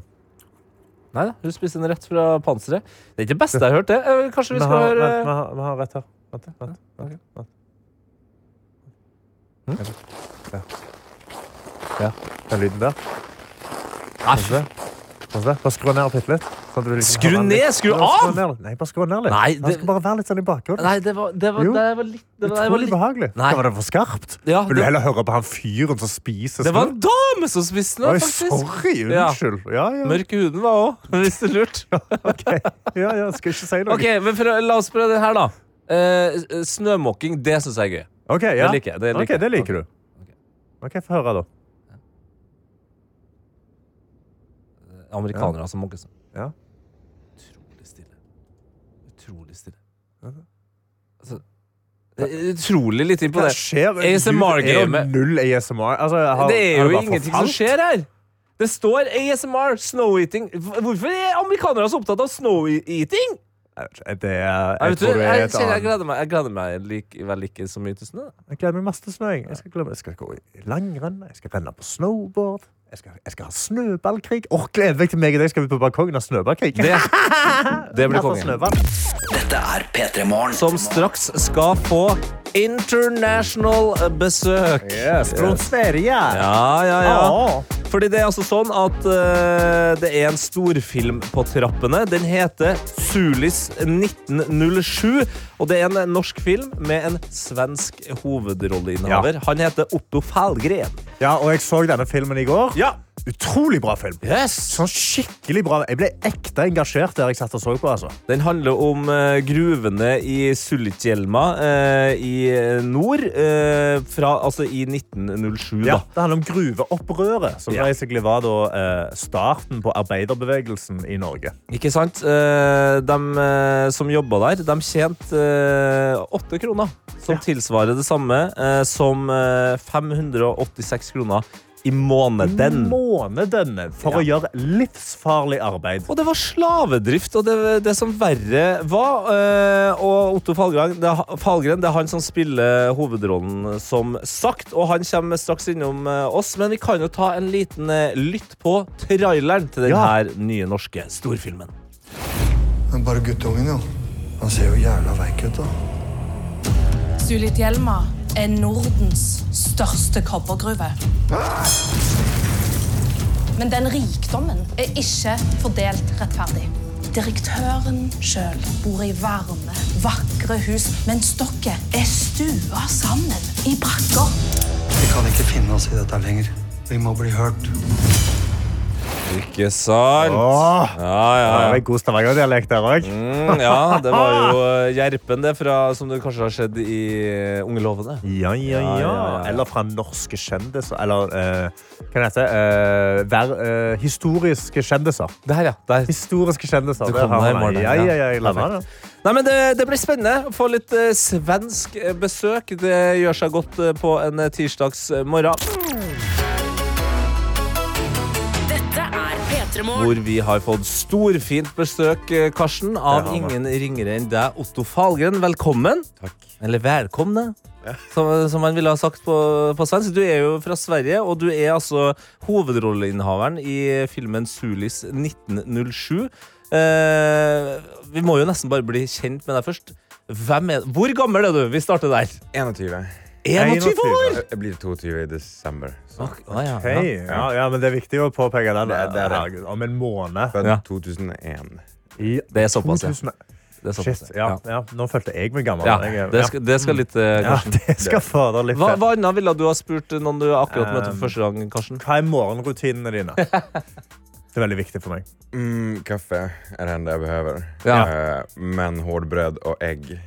[SPEAKER 3] Nei da, hun spiste den rett fra panseret. Det er ikke det beste jeg har hørt, det. Eh, Kanskje vi
[SPEAKER 4] Vi
[SPEAKER 3] skal
[SPEAKER 4] har,
[SPEAKER 3] høre
[SPEAKER 4] vent, vi har, vi har rett her. Vent, vent, vent, vent. Ja. ja. Den lyden der.
[SPEAKER 3] Nei,
[SPEAKER 4] Pass det. Bare skru ned og pitt litt. sånn at du liksom
[SPEAKER 3] Skru
[SPEAKER 4] har den
[SPEAKER 3] ned?
[SPEAKER 4] litt-
[SPEAKER 3] Skru
[SPEAKER 4] Ja, skru
[SPEAKER 3] av?
[SPEAKER 4] ned. Nei, bare skru ned litt.
[SPEAKER 3] Nei,
[SPEAKER 4] Han
[SPEAKER 3] det-
[SPEAKER 4] skal bare være litt sånn i bakgrunnen.
[SPEAKER 3] Nei, det var, det var,
[SPEAKER 4] Jo.
[SPEAKER 3] det var litt det var, det var
[SPEAKER 4] Utrolig
[SPEAKER 3] litt
[SPEAKER 4] behagelig.
[SPEAKER 3] Nei.
[SPEAKER 4] Hva Var det for skarpt?
[SPEAKER 3] Ja,
[SPEAKER 4] Vil du
[SPEAKER 3] det-
[SPEAKER 4] heller høre på han fyren som spiser
[SPEAKER 3] Det var en dame som spiste den,
[SPEAKER 4] Oi,
[SPEAKER 3] faktisk!
[SPEAKER 4] sorry.
[SPEAKER 3] Ja.
[SPEAKER 4] Unnskyld. Ja, ja.
[SPEAKER 3] Mørk i huden var òg, hvis det er lurt.
[SPEAKER 4] ok. ja, ja. Skal ikke si noe.
[SPEAKER 3] Ok, men for, å- La oss prøve den her, da. Eh, eh, snømåking, det syns jeg er gøy.
[SPEAKER 4] Ok, ja.
[SPEAKER 3] Det liker jeg, det liker
[SPEAKER 4] Ok,
[SPEAKER 3] jeg.
[SPEAKER 4] det liker du. Ok, Få høre, da.
[SPEAKER 3] Amerikanere som måker snø.
[SPEAKER 4] Ja.
[SPEAKER 3] Utrolig stille. Utrolig stille. Altså, det er utrolig lite
[SPEAKER 4] Hva
[SPEAKER 3] imponert.
[SPEAKER 4] skjer?
[SPEAKER 3] ASMR-gamet.
[SPEAKER 4] Det er jo null ASMR. Altså, har,
[SPEAKER 3] Det er
[SPEAKER 4] har
[SPEAKER 3] jo
[SPEAKER 4] bare
[SPEAKER 3] ingenting som
[SPEAKER 4] forfalt?
[SPEAKER 3] skjer her! Det står ASMR, snow-eating Hv- Hvorfor er amerikanere så opptatt av e-, snow-eating?
[SPEAKER 4] Jeg vet ikke, Det er, jeg,
[SPEAKER 3] Jeg, vet du,
[SPEAKER 4] tror det er
[SPEAKER 3] jeg,
[SPEAKER 4] et
[SPEAKER 3] kjenner jeg
[SPEAKER 4] annet.
[SPEAKER 3] gleder meg, jeg gleder meg likevel ikke så mye til snø.
[SPEAKER 4] Jeg gleder meg masse til snø. Jeg Jeg skal, glemme. jeg skal gå i langrenn, jeg skal renne på snowboard, jeg skal, jeg skal ha snøballkrig. Åh, gleder meg til meg og deg skal ut på balkongen og ha snøballkrig.
[SPEAKER 3] Det, det blir
[SPEAKER 4] Jeg får
[SPEAKER 3] konge.
[SPEAKER 4] snøball.
[SPEAKER 1] Dette er P3 Morgen.
[SPEAKER 3] Som straks skal få international besøk. Ah.
[SPEAKER 4] Yes, Fra Sverige.
[SPEAKER 3] Ja, ja, ja.
[SPEAKER 4] Ja.
[SPEAKER 3] Fordi det er altså sånn at eh, det er en storfilm på trappene. Den heter Sulis 1907. Og det er en norsk film med en svensk hovedrolleinnehaver. Han heter Otto Falgren.
[SPEAKER 4] ja, og jeg så denne filmen i går.
[SPEAKER 3] Ja.
[SPEAKER 4] Utrolig bra film. Sånn skikkelig bra. Jeg ble ekte engasjert der jeg satt og så på. altså.
[SPEAKER 3] Den handler om eh, gruvene i Sulitjelma eh, i nord. eh, fra, altså i 1907, da.
[SPEAKER 4] Ja, det handler om gruveopprøret, som
[SPEAKER 3] Ja.
[SPEAKER 4] basically var da, eh, starten på arbeiderbevegelsen i Norge.
[SPEAKER 3] Ikke sant? Eh, De eh, som jobba der, de tjente eh, åtte kroner som tilsvarer det samme eh, som eh, 586 kroner i måneden.
[SPEAKER 4] Måneden for å gjøre livsfarlig arbeid.
[SPEAKER 3] Og det var slavedrift, og det, det som verre var. eh, Og Otto Fallgren det, er ha- Fallgren, det er han som spiller hovedrollen, som sagt. Og han kommer straks innom eh, oss, men vi kan jo ta en liten eh, lytt på traileren til denne
[SPEAKER 4] Ja.
[SPEAKER 3] nye norske storfilmen.
[SPEAKER 8] Men bare guttungen, jo. Han ser jo jævla veik ut, da.
[SPEAKER 9] Sulitjelma er Nordens største kobbergruve. Men den rikdommen er ikke fordelt rettferdig. Direktøren sjøl bor i varme, vakre hus, mens dere er stua sammen i brakker.
[SPEAKER 8] Vi kan ikke finne oss i dette lenger. Vi må bli hørt.
[SPEAKER 3] Ikke sant?
[SPEAKER 4] Åh,
[SPEAKER 3] Ja, ja,
[SPEAKER 4] det
[SPEAKER 3] ja.
[SPEAKER 4] er en god Stavanger-dialekt der òg.
[SPEAKER 3] Mm, ja, det var jo eh, Gjerpen, det, fra, som du kanskje har sett i eh, Unge lovende.
[SPEAKER 4] Ja, ja,
[SPEAKER 3] Ja, ja,
[SPEAKER 4] ja.
[SPEAKER 3] ja.
[SPEAKER 4] Eller fra norske kjendiser. Eller eh, hva det heter eh, ver, eh, Historiske kjendiser.
[SPEAKER 3] Der, ja. Der.
[SPEAKER 4] Historiske kjendiser.
[SPEAKER 3] Du
[SPEAKER 4] der
[SPEAKER 3] kom
[SPEAKER 4] har
[SPEAKER 3] der,
[SPEAKER 4] man
[SPEAKER 3] Morten.
[SPEAKER 4] det. Ja, ja, ja, jeg la meg
[SPEAKER 3] Perfekt.
[SPEAKER 4] det.
[SPEAKER 3] Nei, men det, det blir spennende. Få litt eh, svensk eh, besøk. Det gjør seg godt eh, på en eh, tirsdags eh, morgen.
[SPEAKER 2] Dette er P3 Morgen.
[SPEAKER 3] Hvor vi har fått storfint besøk, eh, Karsten, av
[SPEAKER 4] Det har vi.
[SPEAKER 3] ingen ringere enn deg, Otto Falgren. Velkommen. Eller velkomne, som, som man ville ha sagt på, på svensk. Du er jo fra Sverige, og du er altså hovedrolleinnehaveren i filmen Sulis 1907. Eh, vi må jo nesten bare bli kjent med deg først. Hvem er, hvor gammel er du? Vi starter der.
[SPEAKER 10] 21.
[SPEAKER 3] 21 år!
[SPEAKER 10] Jeg blir 22 i desember. Så.
[SPEAKER 3] Ok, ah, ja, ja.
[SPEAKER 4] Hei. Ja, ja, men det er viktig å påpeke den.
[SPEAKER 10] Det- det er det.
[SPEAKER 4] Herregud, Om en måned.
[SPEAKER 10] Født
[SPEAKER 3] Ja.
[SPEAKER 10] 2001.
[SPEAKER 4] I
[SPEAKER 3] Det er såpass, ja.
[SPEAKER 4] 2000.
[SPEAKER 3] Det er såpass,
[SPEAKER 4] Shit. Ja,
[SPEAKER 3] ja.
[SPEAKER 4] ja. Nå følte jeg meg gammel.
[SPEAKER 3] Ja,
[SPEAKER 4] Jeg er- Mm.
[SPEAKER 3] det skal, det skal litt eh,
[SPEAKER 4] ja,
[SPEAKER 3] Karsten.
[SPEAKER 4] det skal fader litt
[SPEAKER 3] Hva,
[SPEAKER 4] til.
[SPEAKER 3] hva annet ville du ha spurt noen du akkurat møtte
[SPEAKER 4] Um,
[SPEAKER 3] for første gang, Karsten?
[SPEAKER 4] Hva er morgenrutinene dine? Det er veldig viktig for meg.
[SPEAKER 10] Mm, kaffe er det enda jeg behøver.
[SPEAKER 3] Ja.
[SPEAKER 10] Eh, men hårdbröd og egg.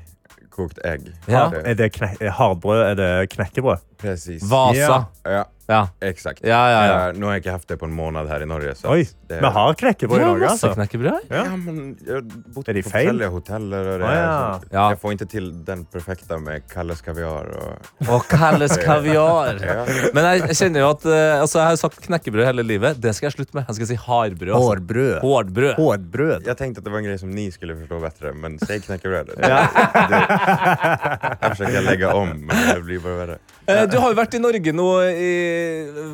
[SPEAKER 10] Kokt egg.
[SPEAKER 3] Ja.
[SPEAKER 10] Det-
[SPEAKER 4] Er det kne- er hardbrød? Er det knekkebrød?
[SPEAKER 10] Precis.
[SPEAKER 3] Vasa.
[SPEAKER 10] Ja,
[SPEAKER 3] Ja.
[SPEAKER 10] exakt.
[SPEAKER 3] Ja, ja, ja.
[SPEAKER 10] Eh, nå har jeg ikke hatt det på en måned her i Norge. Så
[SPEAKER 4] Oi,
[SPEAKER 10] at det-
[SPEAKER 4] vi har knekkebrød i
[SPEAKER 3] Det var
[SPEAKER 4] Norge,
[SPEAKER 3] masse
[SPEAKER 4] altså.
[SPEAKER 3] knekkebrød.
[SPEAKER 10] Ja, men jeg har bott
[SPEAKER 4] Er de
[SPEAKER 10] på
[SPEAKER 4] feil?
[SPEAKER 10] forskjellige hoteller. Og det
[SPEAKER 4] Ah,
[SPEAKER 10] er
[SPEAKER 4] ja.
[SPEAKER 10] sånt.
[SPEAKER 3] Ja.
[SPEAKER 10] Jeg får ikke til den perfekte med Kalles kaviar. Og...
[SPEAKER 3] Og Kalles kaviar.
[SPEAKER 10] Ja.
[SPEAKER 3] Men jeg jeg kjenner jo at eh, altså, Jeg har jo sagt knekkebrød hele livet. Det skal jeg slutte med. Jeg skal si hardbrød. altså.
[SPEAKER 4] Hårbrød.
[SPEAKER 3] Hårdbrød.
[SPEAKER 4] Hårdbrød.
[SPEAKER 10] Jeg tenkte at det var en greie som ni skulle forstå bedre, men si knekkebrød. Det- Jeg forsøker å legge om, men det blir bare verre.
[SPEAKER 3] Eh, Du har jo vært i Norge nå i,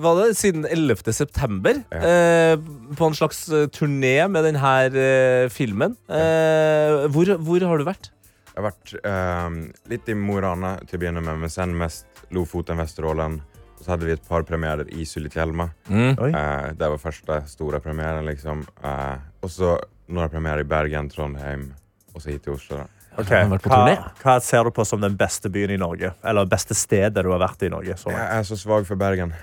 [SPEAKER 3] hva det, siden 11. september. Eh, på en slags eh, turné med denne eh, filmen. Eh, hvor, hvor har du vært?
[SPEAKER 10] Jeg har vært ehm, litt i Mo i Rana til å begynne med, men sen mest Lofoten, Vesterålen. Og så hadde vi et par premierer i Sulitjelma.
[SPEAKER 4] Oi.
[SPEAKER 10] Eh, det var første store premieren, liksom. Eh, og så noen premierer i Bergen, Trondheim, og så hit til Oslo. da.
[SPEAKER 4] Ok,
[SPEAKER 3] Han har vært på
[SPEAKER 4] Hva,
[SPEAKER 3] turné.
[SPEAKER 4] hva ser du på som den beste byen i Norge? Eller beste stedet du har vært i Norge? Så. langt?
[SPEAKER 10] Jeg er så svak for Bergen.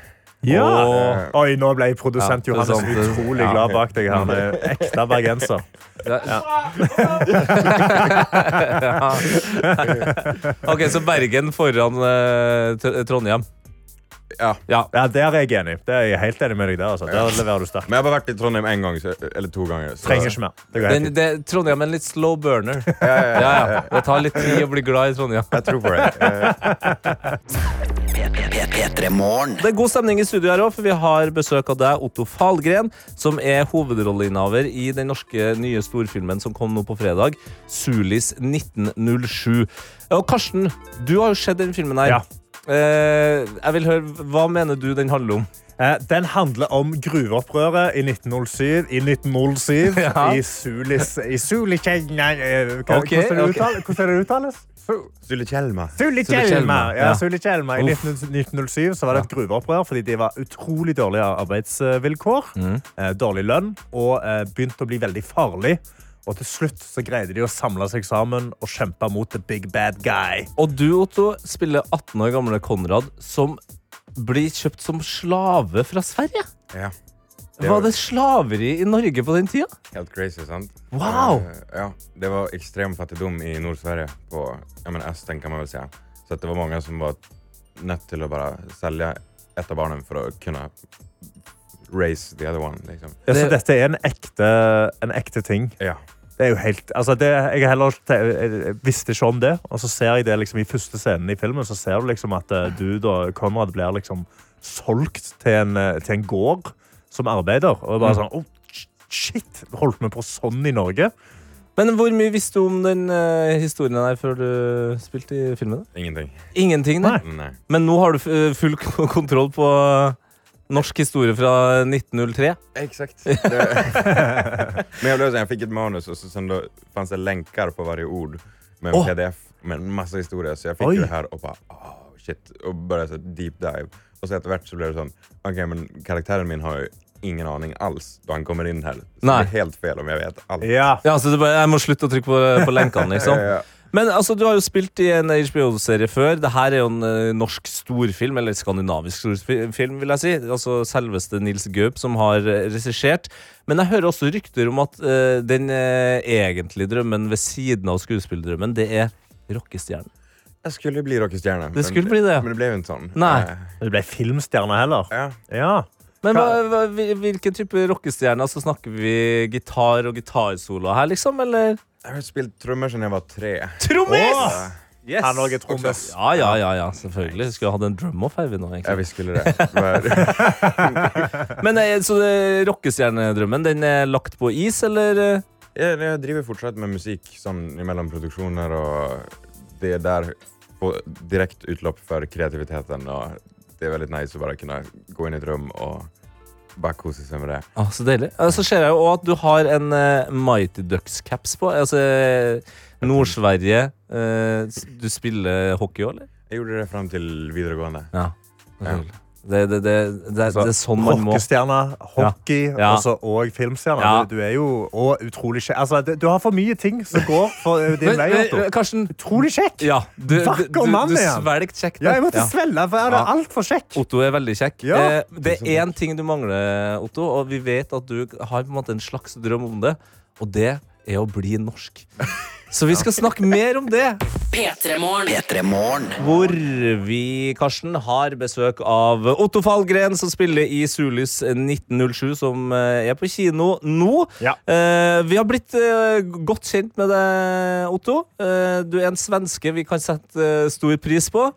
[SPEAKER 4] Ja. Oi, nå ble
[SPEAKER 3] Ja, det
[SPEAKER 4] produsent
[SPEAKER 3] er
[SPEAKER 4] Johannes
[SPEAKER 3] sant, det er sant.
[SPEAKER 4] utrolig glad bak deg. Han er ekte bergenser.
[SPEAKER 3] Ok, Så Bergen foran eh, Tr- Trondheim.
[SPEAKER 10] Ja.
[SPEAKER 3] Ja.
[SPEAKER 4] Ja, der er jeg enig. Det er jeg helt enig med deg der. Altså. Der leverer du sterkt.
[SPEAKER 10] Men jeg har bare vært i Trondheim en gang, så, eller to ganger. Så.
[SPEAKER 4] Trenger ikke mer. Det går helt
[SPEAKER 3] Den,
[SPEAKER 4] fint.
[SPEAKER 3] det, Trondheim er en litt slow burner. Ja, ja, Det tar litt tid å bli glad i Trondheim.
[SPEAKER 10] Jeg tror på det. Eh,
[SPEAKER 1] P3 Morgen.
[SPEAKER 3] Det er god stemning i studio her òg, for vi har besøk av deg, Otto Falgren, som er hovedrolleinnehaver i den norske nye storfilmen som kom nå på fredag, Sulis 1907. Og Karsten, du har jo sett den filmen her.
[SPEAKER 4] Ja.
[SPEAKER 3] Eh, jeg vil høre, Hva mener du den handler om?
[SPEAKER 4] Eh, Den handler om gruveopprøret i 1907. I 1907
[SPEAKER 3] Ja.
[SPEAKER 4] I Sulis I Sulikjelma eh, hva-
[SPEAKER 3] Ok,
[SPEAKER 4] Hvordan er det
[SPEAKER 3] ok.
[SPEAKER 4] uttale- hvordan er det uttales?
[SPEAKER 10] Sulitjelma.
[SPEAKER 4] Sulikjelma!
[SPEAKER 3] Ja.
[SPEAKER 4] Ja, Sulikjelma. I
[SPEAKER 3] Uff.
[SPEAKER 4] 19, 1907 så var det et gruveopprør fordi de var utrolig dårlige arbeidsvilkår. eh, Dårlig lønn og eh, begynte å bli veldig farlig. Og til slutt så greide de å samle seg sammen og kjempe mot the big bad guy.
[SPEAKER 3] Og du, Otto, spiller 18 år gamle Konrad, som blir kjøpt som slave fra Sverige.
[SPEAKER 10] Ja.
[SPEAKER 3] Var det slaveri i Norge på den tida?
[SPEAKER 10] Helt crazy, sant?
[SPEAKER 3] Wow!
[SPEAKER 10] Eh, ja, det var ekstrem fattigdom i Nord-Sverige på ja, men Østen, kan man vel si. Så at det var mange som var nødt til å bare selge et av barna for å kunne raise the other one. Liksom.
[SPEAKER 4] Ja,
[SPEAKER 3] Det-
[SPEAKER 4] så dette er en ekte, en ekte ting.
[SPEAKER 10] Ja,
[SPEAKER 4] Det er jo helt, altså det, jeg, har heller, ikke- jeg jeg visste ikke om det, og så ser jeg det liksom i første scenen i filmen. Så ser du liksom at eh, du og Konrad blir liksom solgt til en, eh, til en gård som arbeider. Og bare sånn, oh, shit, holdt vi på sånn i Norge?
[SPEAKER 3] Men hvor mye visste du om den eh, historien der før du spilte i filmen? da?
[SPEAKER 10] Ingenting.
[SPEAKER 3] Ingenting, nei.
[SPEAKER 10] Nei.
[SPEAKER 3] Men nå har du eh, full k- kontroll på eh, norsk historie fra 1903.
[SPEAKER 10] Exakt. Det- men jag, blev så här, jag fick ett manus och så, sen då fanns det länkar på varje ord med en
[SPEAKER 3] Åh.
[SPEAKER 10] pdf med en massa historia. Så jag fick
[SPEAKER 4] Oj.
[SPEAKER 10] det här och bara oh, shit och började så här deep dive. Och så efterhvert så blev det sån, okej men karaktären min har ju ingen aning alls då han kommer in här. Så
[SPEAKER 3] Nej.
[SPEAKER 10] det är helt fel om jag vet allt.
[SPEAKER 4] Ja.
[SPEAKER 3] Ja, så du bare, Jeg må slutte å trykke på, på lenkene, liksom.
[SPEAKER 10] Ja, ja.
[SPEAKER 3] Men altså, du har jo spilt i en HBO-serie før. Dette er jo en eh, norsk storfilm, eller skandinavisk storfilm, vil jeg si. Altså selveste Nils Gaup, som har eh, regissert. Men jeg hører også rykter om at eh, den eh, egentlige drømmen ved siden av skuespillerdrømmen, det er rockestjernen.
[SPEAKER 10] Jag skulle ju bli rockstjärna. men-
[SPEAKER 3] skulle bli det, ja.
[SPEAKER 10] Men det blev ju inte sån.
[SPEAKER 3] Nej.
[SPEAKER 10] Eh,
[SPEAKER 4] Du ble filmstjerne heller.
[SPEAKER 10] Ja.
[SPEAKER 4] Ja.
[SPEAKER 3] Men hva, hva, hvil- hvilken type rockestjerne? Altså, snakker vi gitar og gitarsolo her, liksom? Eller
[SPEAKER 10] Jag har spelat trummor sedan jag var tre.
[SPEAKER 3] Trommis!
[SPEAKER 4] Åh!
[SPEAKER 3] Yes!
[SPEAKER 4] Han lager trommis.
[SPEAKER 3] Ja, ja, ja, ja, selvfølgelig. Vi skulle hatt en drum-off her. vi nå, egentlig.
[SPEAKER 10] Ja, vi skulle det. Var-
[SPEAKER 3] Men eh, så eh, rockestjernedrømmen, den er lagt på is, eller? eh?
[SPEAKER 10] Jeg, jeg driver fortsatt med musikk sånn mellom produksjoner, og det er der får direkte utløp for kreativiteten. Og det er veldig nice å bare kunne gå inn i et rom og bare kose seg med det.
[SPEAKER 3] Ah, så deilig. Eh, Så ser jeg jo også at du har en eh, Mighty Ducks-caps på. Altså eh, Nord-Sverige. eh, s- du spiller hockey òg, eller?
[SPEAKER 10] Jeg gjorde det fram til videregående.
[SPEAKER 3] Ja. Det, det, det, det, er-
[SPEAKER 4] Altså,
[SPEAKER 3] det er sånn man må
[SPEAKER 4] Rockestjerne, hockey
[SPEAKER 3] Ja.
[SPEAKER 4] altså, og filmstjerne.
[SPEAKER 3] Ja.
[SPEAKER 4] Du, du er jo og utrolig kjekk. Altså, det- du har for mye ting som går for eh, din
[SPEAKER 3] Men,
[SPEAKER 4] vei.
[SPEAKER 3] eh,
[SPEAKER 4] Otto.
[SPEAKER 3] Karsten,
[SPEAKER 4] Utrolig kjekk!
[SPEAKER 3] ja, du, du,
[SPEAKER 4] Vakker
[SPEAKER 3] du,
[SPEAKER 4] mann
[SPEAKER 3] du
[SPEAKER 4] er han.
[SPEAKER 3] svelget kjekt.
[SPEAKER 4] Ja, jeg måtte
[SPEAKER 3] Ja.
[SPEAKER 4] svelle, for jeg er
[SPEAKER 3] Ja.
[SPEAKER 4] altfor kjekk.
[SPEAKER 3] Otto er veldig kjekk.
[SPEAKER 4] Ja.
[SPEAKER 3] Eh, det er én ting du mangler, Otto, og vi vet at du har på en måte en slags drøm om det, og det er å bli norsk. Så vi skal snakke mer om det,
[SPEAKER 2] P3morgen.
[SPEAKER 1] P3 Morgen.
[SPEAKER 3] hvor vi, Karsten, har besøk av Otto Fallgren, som spiller i Sulis 1907, som eh, er på kino nå.
[SPEAKER 4] Ja.
[SPEAKER 3] Eh, vi har blitt eh, godt kjent med deg, Otto. Eh, du er en svenske vi kan sette eh, stor pris på.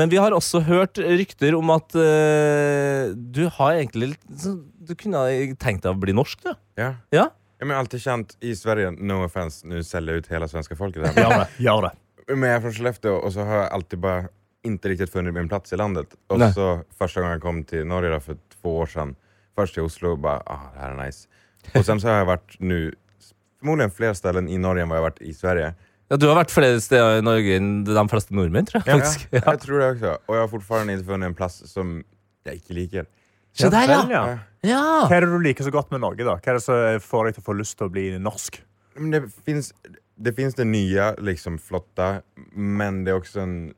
[SPEAKER 3] Men vi har også hørt rykter om at eh, du har egentlig litt sånn- Du kunne ha tenkt deg å bli norsk, du.
[SPEAKER 10] Ja.
[SPEAKER 3] Ja?
[SPEAKER 10] Jeg har alltid kjent i Sverige No offense, nå selger jeg ut hele svenske folket. her,
[SPEAKER 4] Gjør det. Gjør det.
[SPEAKER 10] Men jeg er fra Skellefteå, og så har jeg alltid bare ikke riktig funnet min plass i landet. Og
[SPEAKER 3] Nej.
[SPEAKER 10] så første gang jeg kom til Norge da, for to år siden, først til Oslo, bare ah, det her er nice. Og sen så har jeg vært nå formodentlig flere steder i Norge enn hva jeg har vært i Sverige.
[SPEAKER 3] ja? Du har vært flere steder i Norge enn de fleste nordmenn, tror jeg. faktisk.
[SPEAKER 10] Ja, jeg tror det også. Og jeg har fortsatt ikke funnet en plass som jeg ikke liker.
[SPEAKER 3] Se der,
[SPEAKER 4] Vel,
[SPEAKER 3] ja!
[SPEAKER 4] ja.
[SPEAKER 3] ja.
[SPEAKER 4] Hva er det du liker så godt med Norge? da? Hva er det som får deg til å få lyst til å bli norsk?
[SPEAKER 10] Men det finns det, finns det nya, liksom flotta, men det är också en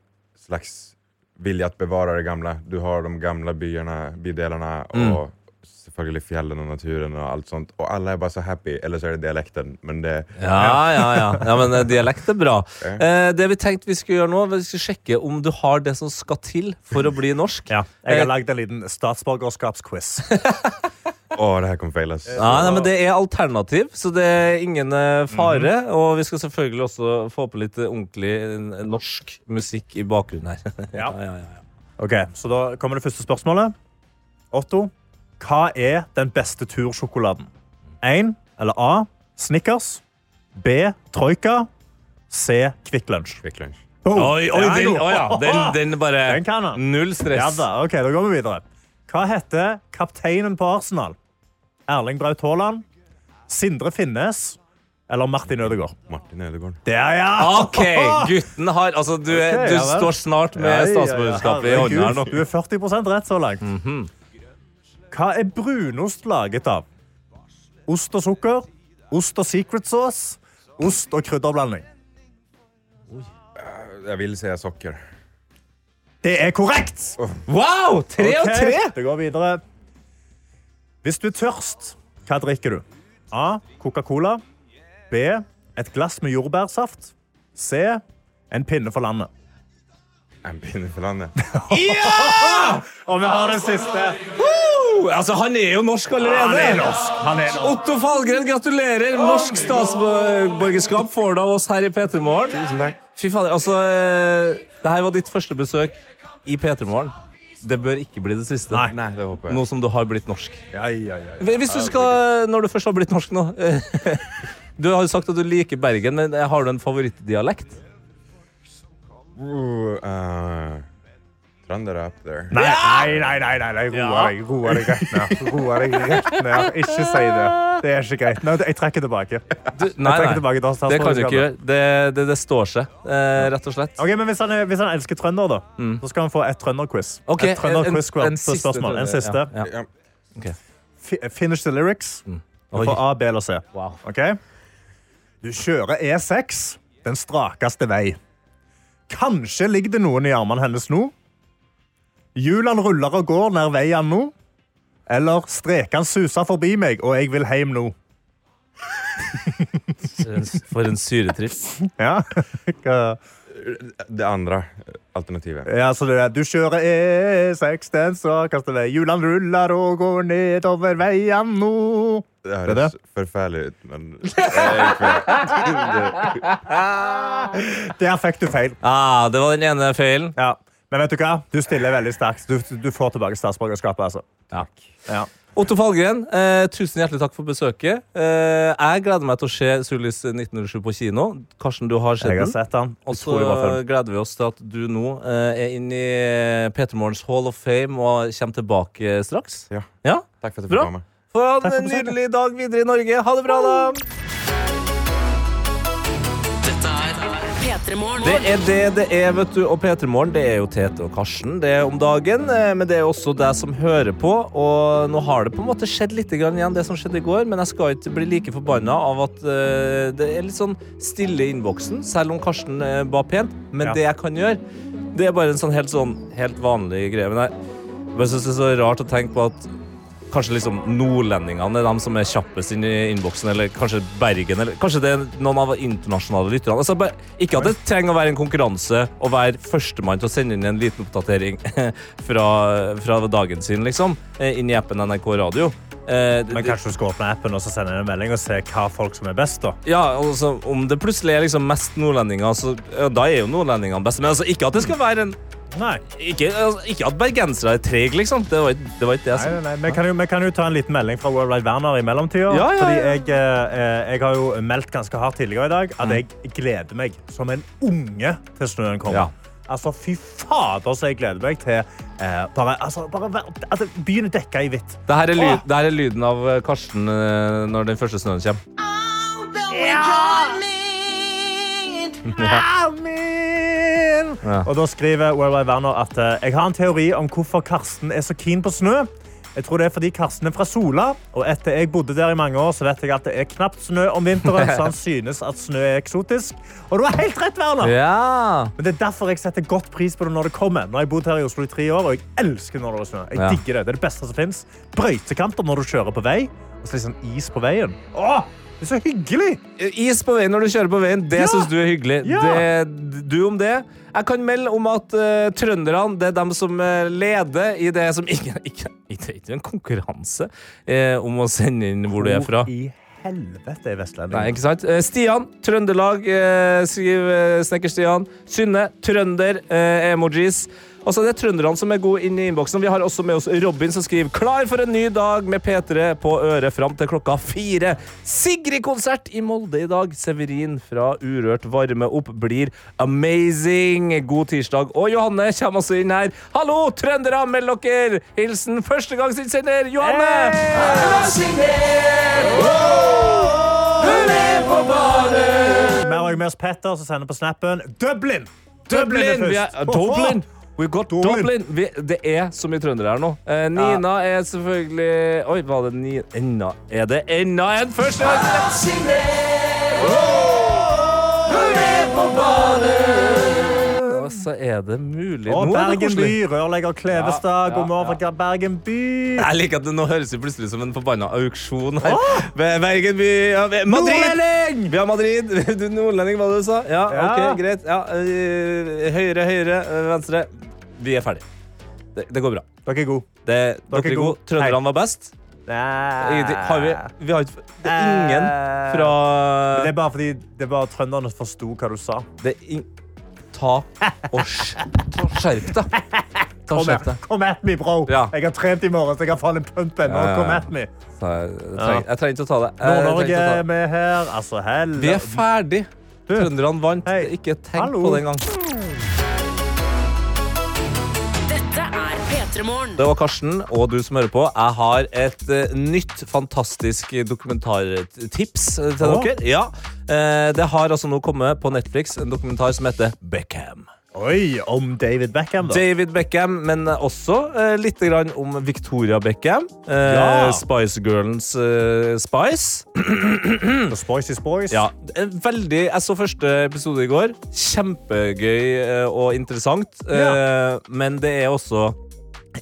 [SPEAKER 10] slags vilja att bevara det gamla. Du har de gamla byarna, bydelarna
[SPEAKER 3] Mm.
[SPEAKER 10] och selvfølgelig fjällen och naturen och allt sånt. Och alla är bara så happy, eller så är det dialekten. Men det,
[SPEAKER 3] Ja, ja, ja. ja men eh, dialekt er bra. Eh, det vi tenkte vi skulle gjøre nå, vi skulle sjekke om du har det som skal til for å bli norsk.
[SPEAKER 4] Jeg
[SPEAKER 3] Eh,
[SPEAKER 4] har lagd en liten statsborgerskapsquiz.
[SPEAKER 10] åh, det här kommer failas.
[SPEAKER 3] Nei, nei, men Det er alternativ, så det er ingen eh, fare. Og vi skal selvfølgelig også få på litt eh, ordentlig eh, norsk musikk i bakgrunnen her.
[SPEAKER 4] Ja.
[SPEAKER 3] ja, ja, ja.
[SPEAKER 4] Ok, så Da kommer det første spørsmålet. Otto, hva er den beste tursjokoladen? 1. eller A. Snickers. B. Troika. C. Kvikk Lunsj.
[SPEAKER 10] Quick lunch.
[SPEAKER 4] Boom.
[SPEAKER 3] Oi, oi,
[SPEAKER 4] Ja,
[SPEAKER 3] den,
[SPEAKER 4] jo.
[SPEAKER 3] å ja, den, den bare
[SPEAKER 4] Den kan han.
[SPEAKER 3] Null
[SPEAKER 4] Ja
[SPEAKER 3] stress.
[SPEAKER 4] da, ok, da går vi videre. Hva heter kapteinen på Arsenal? Erling Braut Haaland, Sindre Finnes eller Martin Ødegaard?
[SPEAKER 10] Martin Ødegaard.
[SPEAKER 4] Der, ja!
[SPEAKER 3] OK, gutten har Altså, du, er,
[SPEAKER 4] Ok,
[SPEAKER 3] du
[SPEAKER 4] ja vel.
[SPEAKER 3] står snart
[SPEAKER 4] Ja, ja,
[SPEAKER 3] med
[SPEAKER 4] ja.
[SPEAKER 3] statsborgerskapet i hånda her nå. Mhm.
[SPEAKER 4] Herregud, Du er 40 rett så langt. Hva er brunost laget av? Ost og sukker, ost og secret sauce, ost og krydderblanding.
[SPEAKER 10] Jeg vil si socker.
[SPEAKER 4] Det er korrekt!
[SPEAKER 3] Wow! Tre av
[SPEAKER 4] Ok,
[SPEAKER 3] tre!
[SPEAKER 4] Det går videre. Hvis du er tørst, hva drikker du? A. Coca-Cola. B. Et glass med jordbærsaft. C. En pinne for landet.
[SPEAKER 10] En pinne for landet.
[SPEAKER 4] Og vi har den siste.
[SPEAKER 3] Woo! Altså, han er jo norsk allerede.
[SPEAKER 4] Han er norsk, han er norsk.
[SPEAKER 3] Otto Falgren, gratulerer! Norsk statsborgerskap får du av oss her i P3 Morgen. Fy fader, altså eh, Det her var ditt første besøk i P3 Morgen. Det bør ikke bli det siste.
[SPEAKER 10] Nei, det håper jeg.
[SPEAKER 3] Nå som du har blitt norsk.
[SPEAKER 10] Ja, ja, ja, ja.
[SPEAKER 3] Hvis du skal, Når du først har blitt norsk nå eh, Du har jo sagt at du liker Bergen, men eh, har du en favorittdialekt?
[SPEAKER 10] Ooh, uh, Trønder er up there.
[SPEAKER 4] Nei, nei, nei, nei, nei, nei. roa deg. Roa deg rett ned. Roa deg rett ned. Ikke si det. Det er ikke greit. Nei, jeg trekker tilbake.
[SPEAKER 3] Du, nei,
[SPEAKER 4] trekker tilbake da, så-
[SPEAKER 3] det kan du ikke gjøre. Det, det, det står seg, eh, rett og slett.
[SPEAKER 4] Ok, men hvis han, er- hvis han elsker trønder, da, så skal han få et trønderquiz.
[SPEAKER 3] Ok,
[SPEAKER 4] et trønder
[SPEAKER 3] en-
[SPEAKER 4] quiz
[SPEAKER 3] en- en siste
[SPEAKER 4] spørsmål. En
[SPEAKER 3] trønder,
[SPEAKER 4] siste.
[SPEAKER 3] ja,
[SPEAKER 10] Ja.
[SPEAKER 4] Fi- Finish the lyrics. Du
[SPEAKER 3] Oi.
[SPEAKER 4] får A, B eller C.
[SPEAKER 3] Wow.
[SPEAKER 4] Ok? Du kjører E6, den strakeste vei. Kanskje ligger det noen i armene hennes nå. Hjulene ruller og går nær veien nå. Eller strekene suser forbi meg, og jeg vil hjem nå.
[SPEAKER 3] For en syretripp.
[SPEAKER 4] Ja, Hva-
[SPEAKER 10] Det andre alternativet.
[SPEAKER 4] ja så det er, Du kjører E6, den strakeste vei. Hjulene ruller og går nedover veien nå.
[SPEAKER 10] Det
[SPEAKER 4] Det er
[SPEAKER 10] høres forferdelig ut, men jeg gikk for det.
[SPEAKER 4] Der fikk du feil.
[SPEAKER 3] Ah, det var den ene feilen.
[SPEAKER 4] Ja. Men vet du hva? Du stiller veldig sterkt. Du, du får tilbake statsborgerskapet. Altså. Ja.
[SPEAKER 3] Otto Falgren, eh, tusen hjertelig takk for besøket. Eh, jeg gleder meg til å se Sulis 1907 på kino. Karsten, du har sett
[SPEAKER 4] Jeg har
[SPEAKER 3] den.
[SPEAKER 4] sett den.
[SPEAKER 3] Og så
[SPEAKER 4] Utrolig bra film.
[SPEAKER 3] gleder vi oss til at du nå eh, er inne i Peter Morgens Hall of Fame og kommer tilbake straks.
[SPEAKER 10] Ja.
[SPEAKER 3] Ja?
[SPEAKER 10] Takk for at jeg
[SPEAKER 3] Bra.
[SPEAKER 10] fikk være med.
[SPEAKER 3] Få ha
[SPEAKER 4] for
[SPEAKER 3] en
[SPEAKER 4] besøket.
[SPEAKER 3] nydelig dag videre i Norge. Ha det bra, da!
[SPEAKER 2] P3 Morgen.
[SPEAKER 3] Det er det det er, vet du. Og P3 Morgen, det er jo Tete og Karsten det er om dagen. eh, Men det er også deg som hører på. Og nå har det på en måte skjedd litt grann igjen, det som skjedde i går. Men jeg skal ikke bli like forbanna av at eh, det er litt sånn stille i innboksen, selv om Karsten eh, ba pent. Men
[SPEAKER 4] Ja.
[SPEAKER 3] det jeg kan gjøre, det er bare en sånn helt sånn helt vanlig greie. Men jeg bare synes det er så rart å tenke på at Kanskje liksom nordlendingene er de som er kjappest inn i innboksen, eller kanskje Bergen, eller kanskje det er noen av internasjonale lytterne. Altså, bare- ikke at det trenger å være en konkurranse å være førstemann til å sende inn en liten oppdatering fra, fra dagen sin, liksom, eh, inn i appen NRK Radio. Eh, det-
[SPEAKER 4] Men kanskje du skal åpne appen og så sende en melding og se hva folk som er best. da.
[SPEAKER 3] ja, altså, om det plutselig er liksom mest nordlendinger, så ja, da er jo nordlendingene best. Men altså, ikke at det skal være en
[SPEAKER 4] Nei.
[SPEAKER 3] Ikke, altså, ikke at bergensere er trege, liksom. Det var, ikke- det var ikke det jeg
[SPEAKER 4] Nei,
[SPEAKER 3] sa.
[SPEAKER 4] nei, nei. Vi kan, jo, vi kan jo ta en liten melding fra World Wide Werner i mellomtida.
[SPEAKER 3] Ja, ja, ja.
[SPEAKER 4] Fordi jeg, eh, jeg har jo meldt ganske hardt tidligere i dag
[SPEAKER 3] Mm.
[SPEAKER 4] at jeg gleder meg som en unge til snøen
[SPEAKER 3] Ja.
[SPEAKER 4] kommer. Altså, Fy fader, så jeg gleder meg til eh, bare, altså, bare, vær- altså, Byen er dekka i hvitt.
[SPEAKER 3] Det her, er lyd, det her er lyden av eh, Karsten eh, når den første snøen kommer.
[SPEAKER 4] Amen!
[SPEAKER 3] Ja.
[SPEAKER 4] Og da skriver World Wide Werner at eh, jeg har en teori om hvorfor Karsten er så keen på snø. Jeg tror det er fordi Karsten er fra Sola, og etter jeg bodde der i mange år, så vet jeg at det er knapt snø om vinteren, så han synes at snø er eksotisk. Og du har helt rett, Werner!
[SPEAKER 3] Ja.
[SPEAKER 4] Men det er derfor jeg setter godt pris på det når det kommer. Nå har jeg bodd her i Oslo i tre år, og jeg elsker når det er snø. Jeg
[SPEAKER 3] Ja.
[SPEAKER 4] digger det. Det er det beste som fins. Brøytekanter når du kjører på vei, og så litt sånn is på veien. Åh, det er så hyggelig!
[SPEAKER 3] eh, Is på veien når du kjører på veien, det
[SPEAKER 4] Ja.
[SPEAKER 3] syns du er hyggelig.
[SPEAKER 4] Ja.
[SPEAKER 3] Det, du om det. Jeg kan melde om at eh, trønderne det er dem som eh, leder i det som ikke, ikke, ikke, ikke en konkurranse eh, om å sende inn hvor du er fra.
[SPEAKER 4] Hvor i helvete er vestlendingen?
[SPEAKER 3] Nei, ikke sant? Eh, Stian, Trøndelag, eh, skriver eh, Snekker-Stian. Synne, trønder, eh, emojis. Altså, det er trønderne som er gode inn i innboksen. Vi har også med oss Robin, som skriver 'Klar for en ny dag med P3 på øret fram til klokka fire'. Sigrid-konsert i Molde i dag. Severin fra Urørt varme opp blir amazing. God tirsdag. Og Johanne kommer også inn her. Hallo, trøndere, meld dere! Hilsen førstegangsinnsender Johanne!
[SPEAKER 4] Vi har også med oss Petter, som sender på snappen Dublin! Dublin er
[SPEAKER 3] Dublin! Vi er,
[SPEAKER 4] først.
[SPEAKER 3] Dublin.
[SPEAKER 4] Oho!
[SPEAKER 3] We got Dublin.
[SPEAKER 4] Dublin.
[SPEAKER 3] Vi, det er så mye trøndere her nå. Eh, Nina er selvfølgelig Oi, var det ni... Enda Er det enda en første Og så er det mulig.
[SPEAKER 4] Og
[SPEAKER 3] Nå er det
[SPEAKER 4] Bergen by,
[SPEAKER 3] koselig.
[SPEAKER 4] rørlegger Klevestad. God morgen fra Bergen by.
[SPEAKER 3] Jeg liker at det nå høres ut plutselig som en forbanna auksjon her. Ved Bergen by ja, ved Madrid!
[SPEAKER 4] Nordlending!
[SPEAKER 3] Vi har Madrid. Du nordlending, hva du sa? Ja, eh,
[SPEAKER 4] Ja.
[SPEAKER 3] ok, greit. Ja, øh, høyre, høyre, øh, venstre. Vi er ferdig. Det, det går bra.
[SPEAKER 4] Dere er gode.
[SPEAKER 3] Det, dere er gode.
[SPEAKER 4] gode.
[SPEAKER 3] Trønderne var best. Ingenting. Har vi, vi har ikke Det er ingen fra
[SPEAKER 4] Det er bare fordi det er bare trønderne som forsto hva du sa.
[SPEAKER 3] Det er ing... Ta og sk- ta- skjerp deg. Ta og
[SPEAKER 4] Kom
[SPEAKER 3] skjerp
[SPEAKER 4] at,
[SPEAKER 3] deg.
[SPEAKER 4] kom at me, bro!
[SPEAKER 3] Ja.
[SPEAKER 4] Jeg har trent i morgen, så jeg har faen en pump ennå.
[SPEAKER 3] Ja, ja, ja.
[SPEAKER 4] Kom at me.
[SPEAKER 3] Ta- Jeg trenger, jeg trenger ikke å ta det. Jeg trenger
[SPEAKER 4] Nord-Norge
[SPEAKER 3] ikke å ta
[SPEAKER 4] er
[SPEAKER 3] det.
[SPEAKER 4] med her. Altså, hell
[SPEAKER 3] Vi er ferdig.
[SPEAKER 4] Du.
[SPEAKER 3] Trønderne vant.
[SPEAKER 4] Hei.
[SPEAKER 3] Ikke tenk
[SPEAKER 4] Hallo.
[SPEAKER 3] på det engang.
[SPEAKER 2] Dette er P3morgen.
[SPEAKER 3] Det var Karsten og du som hører på. Jeg har et eh, nytt fantastisk dokumentartips eh, til
[SPEAKER 4] Åh.
[SPEAKER 3] dere. Ja, eh, Det har altså nå kommet på Netflix en dokumentar som heter Beckham.
[SPEAKER 4] Oi, om David Beckham, da.
[SPEAKER 3] David Beckham, men også eh, litt grann om Victoria Beckham. Eh,
[SPEAKER 4] Ja.
[SPEAKER 3] Spice Girlens eh, Spice.
[SPEAKER 4] The Spoicy Spoys.
[SPEAKER 3] Ja, en veldig, Jeg så første episode i går. Kjempegøy eh, og interessant. Eh, Men det er også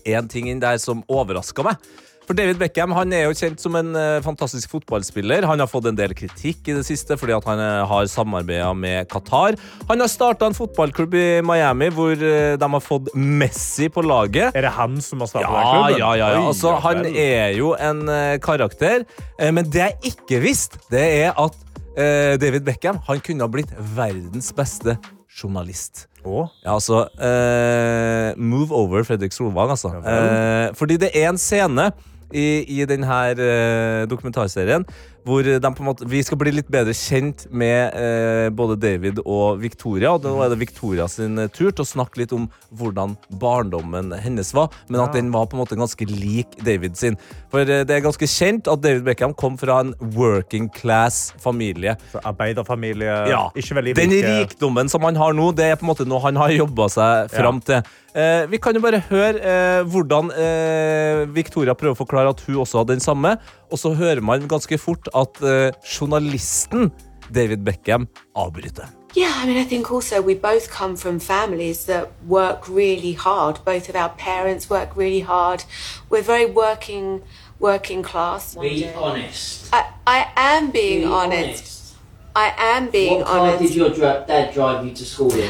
[SPEAKER 3] én ting inn der som overraska meg. For David Beckham han er jo kjent som en eh, fantastisk fotballspiller. Han har fått en del kritikk i det siste fordi at han eh, har samarbeida med Qatar. Han har starta en fotballklubb i Miami hvor eh, de har fått Messi på laget.
[SPEAKER 4] Er det han som har startet den
[SPEAKER 3] Ja,
[SPEAKER 4] klubben?
[SPEAKER 3] ja, ja. ja.
[SPEAKER 4] Oi,
[SPEAKER 3] Altså,
[SPEAKER 4] ja
[SPEAKER 3] han
[SPEAKER 4] vel.
[SPEAKER 3] er jo en eh, karakter. Eh, men det jeg ikke visste, det er at eh, David Beckham han kunne ha blitt verdens beste journalist.
[SPEAKER 4] Å?
[SPEAKER 3] Ja, altså eh, Move over Fredrik Solvang, altså. Eh, fordi det er en scene i, i denne eh, dokumentarserien hvor de på en måte, vi skal bli litt bedre kjent med eh, både David og Victoria. Og nå er det Victoria sin eh, tur til å snakke litt om hvordan barndommen hennes var. Men at den var på en måte ganske lik David sin. For eh, det er ganske kjent at David Beckham kom fra en working class familie.
[SPEAKER 4] Så Arbeiderfamilie.
[SPEAKER 3] Ja.
[SPEAKER 4] Ikke veldig
[SPEAKER 3] Den
[SPEAKER 4] rike.
[SPEAKER 3] rikdommen som han har nå, det er på en måte noe han har jobba seg fram til. Eh, vi kan jo bare høre eh, hvordan eh, Victoria prøver å forklare at hun også hadde den samme, og så hører man ganske fort at eh, journalisten David Beckham avbryter.
[SPEAKER 11] Yeah, I mean, I think also we both come from families that work really hard. Both of our parents work really hard. We're very working, working class.
[SPEAKER 5] Be honest.
[SPEAKER 11] I, I am being honest. I am being
[SPEAKER 5] What car
[SPEAKER 11] honest.
[SPEAKER 5] did your dra- dad drive you to school in?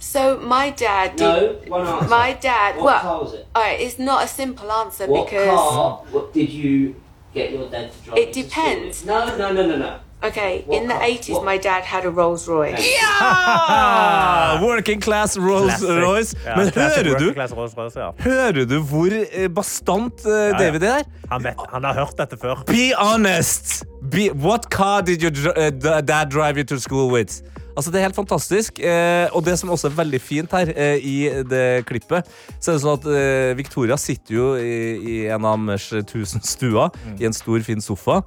[SPEAKER 11] So my dad
[SPEAKER 5] No,
[SPEAKER 11] did.
[SPEAKER 5] one answer.
[SPEAKER 11] My dad.
[SPEAKER 5] What car
[SPEAKER 11] well,
[SPEAKER 5] was it?
[SPEAKER 11] all right, it's not a simple answer
[SPEAKER 5] What
[SPEAKER 11] because
[SPEAKER 5] car what did you get your dad to drive
[SPEAKER 11] It
[SPEAKER 5] you to
[SPEAKER 11] depends.
[SPEAKER 5] school in? No, no, no, no, no.
[SPEAKER 11] okay,
[SPEAKER 5] What
[SPEAKER 11] in the
[SPEAKER 5] car?
[SPEAKER 11] eighties,
[SPEAKER 5] What-
[SPEAKER 11] my dad had a Rolls Royce.
[SPEAKER 3] Ja! Working class Rolls-Royce.
[SPEAKER 4] Ah! Ja,
[SPEAKER 3] Men
[SPEAKER 4] classic
[SPEAKER 3] hører
[SPEAKER 4] working
[SPEAKER 3] du,
[SPEAKER 4] class Rolls Royce, ja.
[SPEAKER 3] hører du hvor eh, bastant eh,
[SPEAKER 4] ja.
[SPEAKER 3] David er?
[SPEAKER 4] Han, vet, han har hørt dette før.
[SPEAKER 3] Be honest! Be, what car did your dr eh, da- dad drive you to school with? Altså, det er helt fantastisk. Eh, og det som også er veldig fint her, eh, i det klippet, så er det sånn at eh, Victoria sitter jo i, i en av deres tusen stuer i en stor, fin sofa.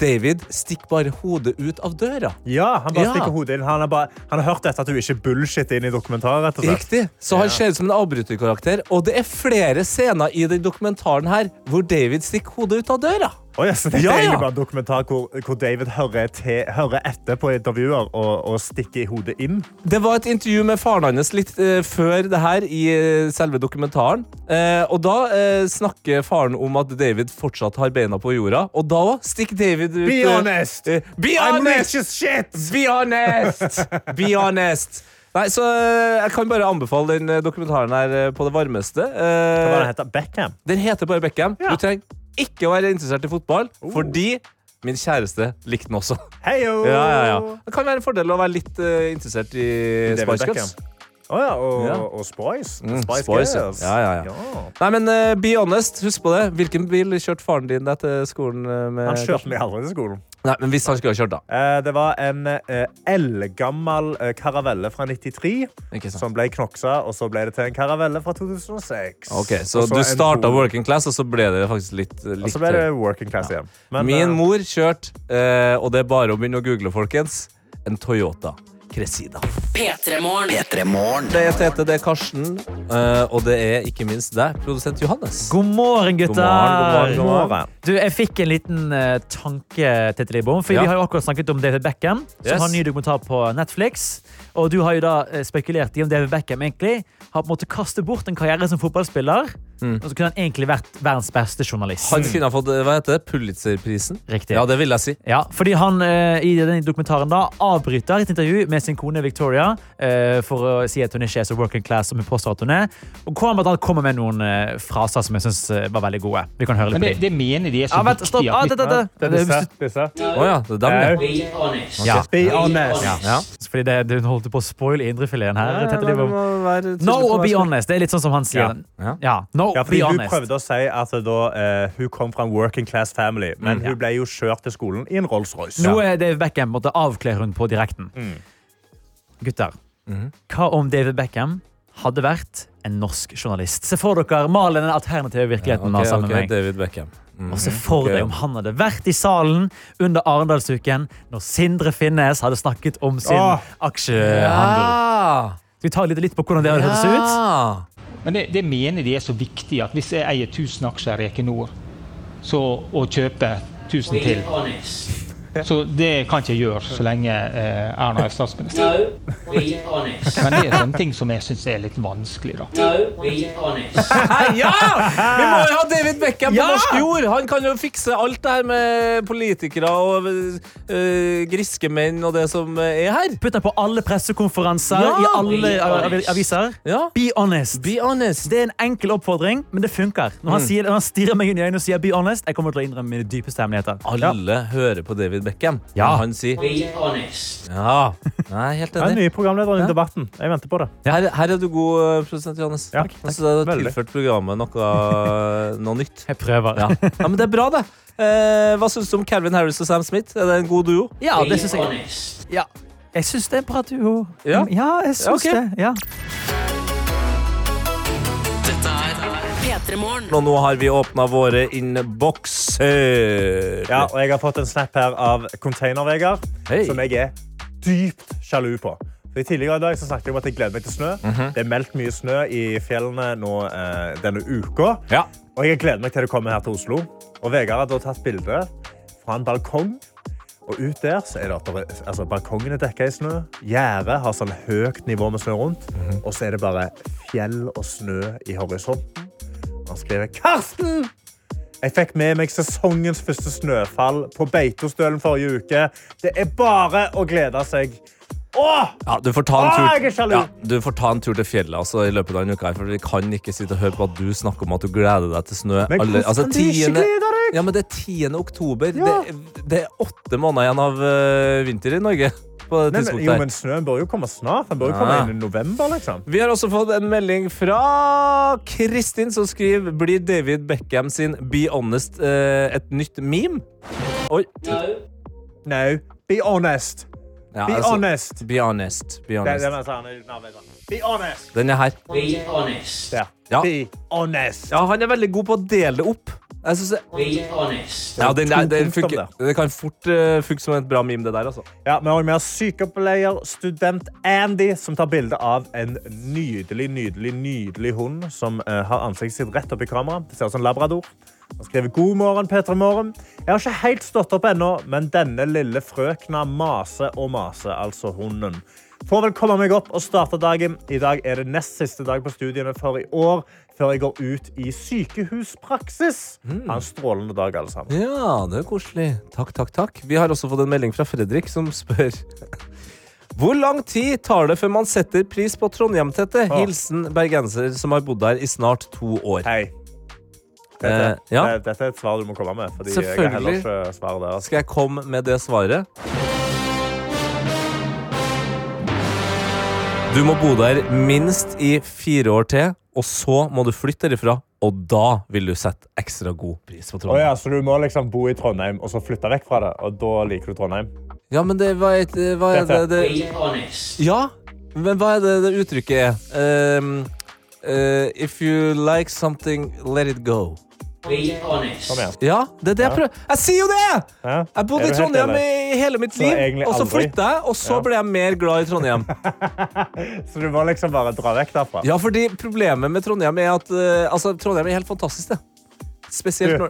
[SPEAKER 3] David stikker bare hodet ut av døra.
[SPEAKER 4] Ja, Han bare
[SPEAKER 3] Ja.
[SPEAKER 4] stikker hodet inn. Han har, bare, han har hørt dette at du ikke bullshit inn i dokumentaret. rett og slett.
[SPEAKER 3] Riktig. Så han ser ut som en avbryterkarakter. Og det er flere scener i den dokumentaren her hvor David stikker hodet ut av døra.
[SPEAKER 4] Å, ja, så dette
[SPEAKER 3] Ja,
[SPEAKER 4] er
[SPEAKER 3] ja.
[SPEAKER 4] egentlig bare en dokumentar hvor, hvor David hører, til, hører etter på intervjuer og, og stikker hodet inn.
[SPEAKER 3] Det var et intervju med faren hans litt eh, før det her i eh, selve dokumentaren. Eh, og da eh, snakker faren om at David fortsatt har beina på jorda. Og da òg stikker David ut
[SPEAKER 4] Be
[SPEAKER 3] eh,
[SPEAKER 4] honest!
[SPEAKER 3] eh, be
[SPEAKER 4] I'm
[SPEAKER 3] honest!
[SPEAKER 4] rich as shit!
[SPEAKER 3] Be honest! Be honest! Nei, så eh, jeg kan bare anbefale den eh, dokumentaren her eh, på det varmeste. Eh,
[SPEAKER 4] Hva var det han heter? Beckham?
[SPEAKER 3] den heter bare Beckham.
[SPEAKER 4] Ja. Oh.
[SPEAKER 3] Du trenger ikke å være interessert i fotball, fordi min kjæreste likte den også.
[SPEAKER 4] Heio!
[SPEAKER 3] Ja, ja, ja. Det kan være en fordel å være litt eh, interessert i
[SPEAKER 4] David
[SPEAKER 3] Spice Girls.
[SPEAKER 4] Beckham. Å ja, og,
[SPEAKER 3] Ja.
[SPEAKER 4] og Spice.
[SPEAKER 3] Mm,
[SPEAKER 4] Spice
[SPEAKER 3] Spice, ja.
[SPEAKER 4] Girls.
[SPEAKER 3] Ja, ja, ja. Nei, men eh, be honest, husk på det. Hvilken bil kjørte faren din deg til skolen? eh, med
[SPEAKER 4] Han kjørte meg aldri til skolen.
[SPEAKER 3] Nei, men hvis han skulle ha kjørt, da.
[SPEAKER 4] Eh, Det var en eh, eldgammel eh, karavelle fra 93
[SPEAKER 3] Ikke sant.
[SPEAKER 4] som ble knoksa, og så ble det til en karavelle fra 2006.
[SPEAKER 3] Ok, Så
[SPEAKER 4] Og
[SPEAKER 3] du
[SPEAKER 4] en
[SPEAKER 3] starta
[SPEAKER 4] Polo.
[SPEAKER 3] working class, og så ble det faktisk litt, litt eh,
[SPEAKER 4] Og så ble det working class igjen. Men,
[SPEAKER 3] Min
[SPEAKER 4] eh,
[SPEAKER 3] mor kjørte, eh, og det er bare å begynne å google, folkens, en Toyota Cresida.
[SPEAKER 2] P3morgen.
[SPEAKER 1] P3 Morgen.
[SPEAKER 3] Det er Tete, det er Karsten, eh, og det er ikke minst deg, produsent Johannes.
[SPEAKER 5] God morgen, gutter!
[SPEAKER 3] God morgen, god morgen, god morgen.
[SPEAKER 5] Du, Jeg fikk en liten eh, tanke, Tete Lidbom. For
[SPEAKER 3] Ja.
[SPEAKER 5] vi har jo akkurat snakket om David Beckham, som
[SPEAKER 3] Yes.
[SPEAKER 5] har en ny dokumentar på Netflix. Og du har jo da eh, spekulert i om David Beckham egentlig har på en måte kastet bort en karriere som fotballspiller
[SPEAKER 10] Mm.
[SPEAKER 12] Og så kunne han egentlig vært verdens beste journalist.
[SPEAKER 3] Han kunne ha fått eh, hva heter det, Pulitzerprisen.
[SPEAKER 12] Riktig.
[SPEAKER 3] Ja, det vil jeg si.
[SPEAKER 12] Ja, fordi han eh, i den dokumentaren da avbryter et intervju med sin kone Victoria eh, for å si at hun ikke er så working class som hun påstår at hun er. Og hvor han blant annet kommer med noen eh, fraser som jeg synes eh, var veldig gode. Vi kan høre litt
[SPEAKER 13] Men
[SPEAKER 12] på
[SPEAKER 13] det,
[SPEAKER 12] dem.
[SPEAKER 13] det mener de er så
[SPEAKER 12] Ja, vent, stopp.
[SPEAKER 13] viktige.
[SPEAKER 12] Ah, det- det- det- Det er disse. Å ja, det er dem,
[SPEAKER 4] Eh,
[SPEAKER 12] ja.
[SPEAKER 13] Be honest.
[SPEAKER 12] Ja.
[SPEAKER 13] Be honest.
[SPEAKER 12] Ja. Ja. Fordi det, du holdt på å spoile indrefileten her.
[SPEAKER 4] Ja, ja,
[SPEAKER 12] Tete
[SPEAKER 4] nei,
[SPEAKER 12] Liv.
[SPEAKER 4] det må være tydelig
[SPEAKER 12] no
[SPEAKER 4] på hva
[SPEAKER 12] og be
[SPEAKER 4] som-
[SPEAKER 12] honest. Det er litt sånn som han sier. Ja. No,
[SPEAKER 4] Ja,
[SPEAKER 12] be
[SPEAKER 4] fordi hun
[SPEAKER 12] honest.
[SPEAKER 4] prøvde å si at da, eh, hun kom fra en working class family, men
[SPEAKER 12] Mm.
[SPEAKER 4] hun ble jo kjørt til skolen i en Rolls-Royce.
[SPEAKER 12] Nå er Dave Beckham måtte avkle hun på direkten. Gutter, hva om David Beckham hadde vært en norsk journalist? Se for dere malen den alternative virkeligheten han har sammen med meg.
[SPEAKER 3] David Beckham. Mm.
[SPEAKER 12] Og se for
[SPEAKER 3] Ok.
[SPEAKER 12] deg om han hadde vært i salen under Arendalsuken når Sindre Finnes hadde snakket om sin
[SPEAKER 4] Ah.
[SPEAKER 13] Åh.
[SPEAKER 12] aksjehandel. Skal vi ta litt, litt på hvordan det hadde hørtes ut?
[SPEAKER 3] Ah!
[SPEAKER 13] Men det, det mener de er så viktig at hvis jeg eier 1000 aksjer i Equinor, så å kjøpe 1000 til Så det kan ikke jeg gjøre så lenge eh, Erna er statsminister. Men det er sånne ting som jeg syns er litt vanskelig, da.
[SPEAKER 3] ja! Vi må jo ha David Beckham på
[SPEAKER 13] Ja!
[SPEAKER 3] norsk jord! Han kan jo fikse alt det her med politikere og øh, griske menn og det som er her.
[SPEAKER 12] Putt den på alle pressekonferanser
[SPEAKER 3] Ja!
[SPEAKER 12] i alle
[SPEAKER 3] Be
[SPEAKER 12] av-
[SPEAKER 3] honest.
[SPEAKER 12] aviser. Be, honest. Det er en enkel oppfordring, men det funker. Når han,
[SPEAKER 3] Mm.
[SPEAKER 12] sier, når han stirrer meg inn i øynene og sier be honest, jeg kommer til å innrømme mine dypeste hemmeligheter. Ja.
[SPEAKER 3] Alle hører på David Beckham.
[SPEAKER 12] Ja.
[SPEAKER 3] Men Han sier Ja. Nei, helt
[SPEAKER 4] Det er
[SPEAKER 3] enig.
[SPEAKER 4] nye programlederen
[SPEAKER 3] Ja.
[SPEAKER 4] i debatten. Jeg venter på det.
[SPEAKER 3] Her, her er du god, eh, produsent Johannes.
[SPEAKER 4] Ja,
[SPEAKER 3] Takk.
[SPEAKER 4] takk.
[SPEAKER 3] Altså, det har
[SPEAKER 4] Veldig.
[SPEAKER 3] tilført programmet noe, eh, noe nytt.
[SPEAKER 12] Jeg prøver.
[SPEAKER 3] Ja. ja, Men det er bra, det. Eh, hva syns du om Calvin Harris og Sam Smith? Er det en god duo?
[SPEAKER 12] Ja, det synes jeg. Ja. Jeg syns det er bra duo.
[SPEAKER 3] Ja?
[SPEAKER 12] jeg syns
[SPEAKER 3] Ja, ok.
[SPEAKER 12] det. Ja.
[SPEAKER 2] Dette er P3 Morgen.
[SPEAKER 3] Og nå har vi åpna våre innbokser.
[SPEAKER 4] Ja, og jeg har fått en snap her av Container-Vegard, som jeg er dypt sjalu på. Fordi tidligere i dag så snakket jeg om at jeg gleder meg til snø.
[SPEAKER 3] Mhm.
[SPEAKER 4] Det er meldt mye snø i fjellene nå, eh, denne uka. Og jeg gleder meg til det kommer her til Oslo. Og Vegard har da tatt bilde fra en balkong. Og ut der så er det at der er- altså, balkongen er dekka i snø. Gjerdet har sånn høyt nivå med snø rundt. Og så er det bare fjell og snø i horisonten. Han skriver Karsten! Jeg fikk med meg sesongens første snøfall på Beitostølen forrige uke. Det er bare å glede seg. Åh!
[SPEAKER 3] Ja, du får ta en
[SPEAKER 4] Åh,
[SPEAKER 3] tur,
[SPEAKER 4] jeg er sjalu!
[SPEAKER 3] ja, du får ta en tur til fjellet altså, i løpet av en uke. her, For Vi kan ikke sitte og høre på at du snakker om at du gleder deg til snø.
[SPEAKER 4] Men hvordan kan du ikke glede
[SPEAKER 3] deg? Ja, men Det er 10. oktober. Det, det er åtte måneder igjen av øh, vinter i Norge. på det
[SPEAKER 4] Nei, men,
[SPEAKER 3] tidspunktet
[SPEAKER 4] jo,
[SPEAKER 3] her.
[SPEAKER 4] men snøen bør jo komme snart. Den bør jo komme
[SPEAKER 3] Ja.
[SPEAKER 4] inn i november, liksom.
[SPEAKER 3] Vi har også fått en melding fra Kristin som skriver Blir David Beckham sin Be Honest eh, et nytt meme? Oi.
[SPEAKER 4] No. Be honest.
[SPEAKER 3] Ja,
[SPEAKER 4] Be
[SPEAKER 3] altså,
[SPEAKER 4] honest.
[SPEAKER 3] Be honest. Be
[SPEAKER 4] Det-
[SPEAKER 3] honest.
[SPEAKER 4] det var sånn, det er uten arbeid, sånn. Be honest.
[SPEAKER 3] Den er her.
[SPEAKER 4] Be honest. Ja.
[SPEAKER 3] Ja.
[SPEAKER 4] Be honest.
[SPEAKER 3] Ja, han er veldig god på å dele det opp. Jeg synes det... Ja, den, der- den
[SPEAKER 4] To punkter
[SPEAKER 3] funker, det kan fort eh, funke som et bra meme, det der. altså.
[SPEAKER 4] Ja, Vi har også med oss sykepleier, student Andy, som tar bilde av en nydelig nydelig, nydelig hund som eh, har ansiktet sitt rett opp i kamera. Det ser ut som en labrador. Han skriver god morgen, Petra Morgen. Jeg har ikke helt stått opp ennå, men denne lille frøkna maser og maser, altså hunden. Får vel komme meg opp og starte dagen. I dag er det nest siste dag på studiene for i år, før jeg går ut i sykehuspraksis. Ha en strålende dag, alle sammen.
[SPEAKER 3] Ja, det er koselig. Takk, takk, takk. Vi har også fått en melding fra Fredrik som spør Hvor lang tid tar det før man setter pris på Trondheim, Tette? Hilsen bergenser som har bodd der i snart to år.
[SPEAKER 4] Hei.
[SPEAKER 3] Eh, ja.
[SPEAKER 4] Det- Dette er et svar du må komme med. Fordi Jeg har heller
[SPEAKER 3] Selvfølgelig.
[SPEAKER 4] ikke svar der. altså.
[SPEAKER 3] Skal jeg komme med det svaret? Du må bo der minst i fire år til, og så må du flytte derifra. Og da vil du sette ekstra god pris på
[SPEAKER 4] Å
[SPEAKER 3] Trondheim.
[SPEAKER 4] ja, så du må liksom bo i Trondheim og så flytte vekk fra det, og da liker du Trondheim?
[SPEAKER 3] Ja, men det var et det var-
[SPEAKER 4] Dette.
[SPEAKER 3] det, det, Ja, men hva er det det uttrykket er? Ehm, eh, if you like something, let it go.
[SPEAKER 4] Kom igjen.
[SPEAKER 3] Ja, det er det jeg
[SPEAKER 4] Ja.
[SPEAKER 3] prøver Jeg sier jo det!
[SPEAKER 4] Ja.
[SPEAKER 3] Jeg
[SPEAKER 4] Er
[SPEAKER 3] bodde i
[SPEAKER 4] du helt
[SPEAKER 3] Trondheim
[SPEAKER 4] enig?
[SPEAKER 3] i hele mitt
[SPEAKER 4] Så
[SPEAKER 3] liv,
[SPEAKER 4] egentlig
[SPEAKER 3] og så
[SPEAKER 4] aldri.
[SPEAKER 3] flytta jeg, og så ble jeg mer glad i Trondheim.
[SPEAKER 4] Så du må liksom bare dra vekk derfra?
[SPEAKER 3] Ja, fordi problemet med Trondheim er at eh, altså, Trondheim er helt fantastisk, det. Spesielt når,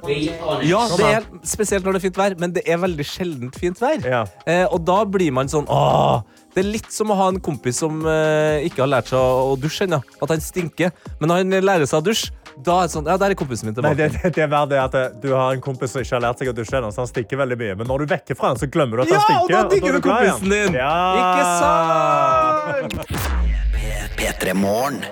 [SPEAKER 3] ja, det er, helt- spesielt når det er fint vær, men det er veldig sjeldent fint vær. Eh, og da blir man sånn åh, Det er litt som å ha en kompis som eh, ikke har lært seg å å dusje ennå. At han stinker. Men når han lærer seg å dusje, Da er det sånn, ja, der er kompisen min
[SPEAKER 4] Nei,
[SPEAKER 3] tilbake.
[SPEAKER 4] det, det, det er verre det at eh, du har en kompis som ikke har lært seg å dusje ennå, så han stikker veldig mye. Men når du vekker fra han, så glemmer du at han
[SPEAKER 3] Ja,
[SPEAKER 4] stikker.
[SPEAKER 3] og da digger
[SPEAKER 4] er
[SPEAKER 3] du
[SPEAKER 4] glad i han.
[SPEAKER 3] kompisen din!
[SPEAKER 4] Ja.
[SPEAKER 3] Ikke sant?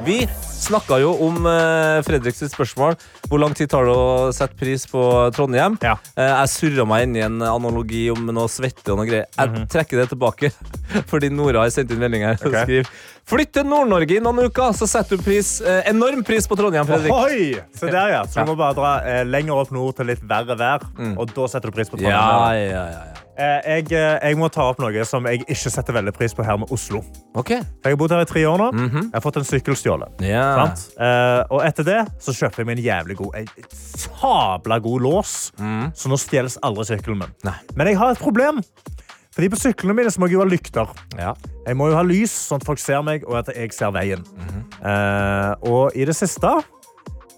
[SPEAKER 3] Vi snakka jo om eh, Fredriks sitt spørsmål. Hvor lang tid tar det å sette pris på Trondheim? Eh, jeg surra meg inn i en analogi om noe svette og noe greier. Jeg trekker det tilbake, fordi Nora har sendt inn melding her og
[SPEAKER 4] Mhm. Ok.
[SPEAKER 3] skriver Flytt til Nord-Norge i noen uker, så setter du pris, eh, enorm pris på Trondheim, Fredrik.
[SPEAKER 4] Ohoi! Se der, ja. Så du må bare dra eh, lenger opp nord til litt verre vær, og da setter du pris på
[SPEAKER 3] Mm. Ja,
[SPEAKER 4] Trondheim.
[SPEAKER 3] ja, ja.
[SPEAKER 4] Eh, Jeg, eh, jeg må ta opp noe som jeg ikke setter veldig pris på her med Oslo.
[SPEAKER 3] Ok.
[SPEAKER 4] For Jeg har bodd her i tre år nå. Jeg har fått en sykkel stjålet.
[SPEAKER 3] Ja.
[SPEAKER 4] Sant? Eh, og etter det så kjøper jeg meg en jævlig god en sabla god lås, så nå stjeles aldri sykkelen min. Men jeg har et problem. Fordi på syklene mine så må jeg jo ha lykter. Jeg må jo ha lys, sånn at folk ser meg, og at jeg ser veien. Eh, og i det siste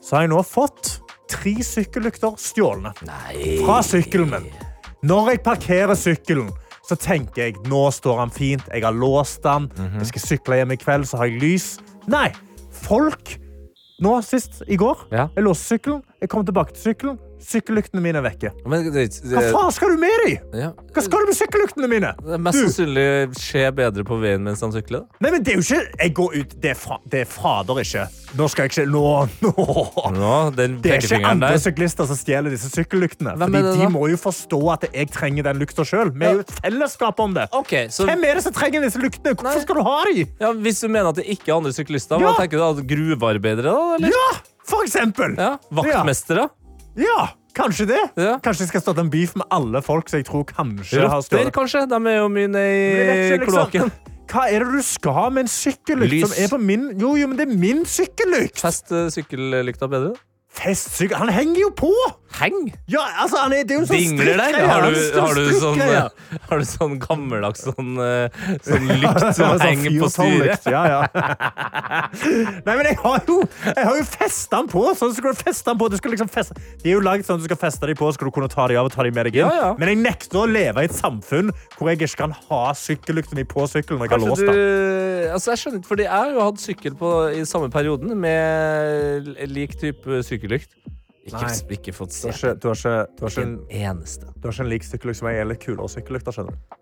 [SPEAKER 4] så har jeg nå fått tre sykkellykter stjålne fra sykkelen min. Når jeg parkerer sykkelen, så tenker jeg nå står han fint, jeg har låst han,
[SPEAKER 3] Mhm.
[SPEAKER 4] jeg skal sykle hjem i kveld, så har jeg lys. Nei, folk nå sist i går, jeg låste sykkelen, jeg kom tilbake til sykkelen, sykkellyktene mine er vekke. Hva faen skal du med deg?
[SPEAKER 3] Ja.
[SPEAKER 4] Hva skal du med sykkellyktene mine?
[SPEAKER 3] Det mest
[SPEAKER 4] Du-
[SPEAKER 3] sannsynlig skjer bedre på veien mens han sykler. da.
[SPEAKER 4] Nei, men det er jo ikke Jeg går ut Det er, fa, det er fader ikke. Nå skal jeg ikke Nå, nå.
[SPEAKER 3] Nå, den
[SPEAKER 4] Det er ikke
[SPEAKER 3] pekefingeren
[SPEAKER 4] andre
[SPEAKER 3] der.
[SPEAKER 4] syklister som stjeler disse sykkellyktene.
[SPEAKER 3] Hvem er
[SPEAKER 4] Fordi
[SPEAKER 3] det da?
[SPEAKER 4] De må jo forstå at jeg trenger den lykta sjøl. Vi er jo et fellesskap om det.
[SPEAKER 3] så-
[SPEAKER 4] Hvem er det som trenger disse lyktene? Hvorfor skal du ha dem?
[SPEAKER 3] Ja, hvis du mener at det ikke er andre syklister, hva
[SPEAKER 4] Ja.
[SPEAKER 3] tenker du da? Gruvearbeidere, da? Eller?
[SPEAKER 4] Ja, for eksempel.
[SPEAKER 3] Ja, Vaktmestere?
[SPEAKER 4] Ja, kanskje det. Kanskje jeg skal starte en beef med alle folk som jeg tror kanskje har
[SPEAKER 3] Rotter,
[SPEAKER 4] stjålet.
[SPEAKER 3] kanskje? De er jo mye nede i
[SPEAKER 4] Jeg vet ikke, liksom.
[SPEAKER 3] kloakken.
[SPEAKER 4] Hva er det du skal ha med en sykkellykt
[SPEAKER 3] Lys.
[SPEAKER 4] som er på min Jo, jo, men det er min sykkellykt!
[SPEAKER 3] Fest eh, sykkellykta bedre.
[SPEAKER 4] Festsykkel Han henger jo på!
[SPEAKER 3] Heng?
[SPEAKER 4] Ja, altså, han er, det er jo en sånn
[SPEAKER 3] Dingler der?
[SPEAKER 4] strikkgreie.
[SPEAKER 3] Har
[SPEAKER 4] Han
[SPEAKER 3] du,
[SPEAKER 4] er en stor
[SPEAKER 3] har, du sånn,
[SPEAKER 4] strikkgreie.
[SPEAKER 3] eh, har du sånn gammeldags sånn, eh, sånn lykt som
[SPEAKER 4] Ja, sånn
[SPEAKER 3] henger på styret?
[SPEAKER 4] fyrtårnlykt, Ja, ja. Nei, men jeg har jo, jeg har jo festet den på. Sånn skal du feste den på. Du skal liksom feste. De er jo laget sånn at du skal feste dem på, så skal du kunne ta dem av og ta dem med deg inn.
[SPEAKER 3] Ja, ja.
[SPEAKER 4] Men jeg nekter å leve i et samfunn hvor jeg ikke kan ha sykkellykten min på sykkelen. når Jeg har
[SPEAKER 3] Kanskje
[SPEAKER 4] låst
[SPEAKER 3] du,
[SPEAKER 4] den.
[SPEAKER 3] altså jeg skjønner ikke, fordi jeg har jo hatt sykkel på, i samme perioden med l- lik type sykkellykt. Ikke,
[SPEAKER 4] Nei.
[SPEAKER 3] ikke fått
[SPEAKER 4] Du
[SPEAKER 3] se
[SPEAKER 4] har ikke, du har ikke, du har ikke en,
[SPEAKER 3] eneste.
[SPEAKER 4] du har ikke en lik sykkellykt som jeg. Jeg er litt kulere sykkellykter, skjønner du.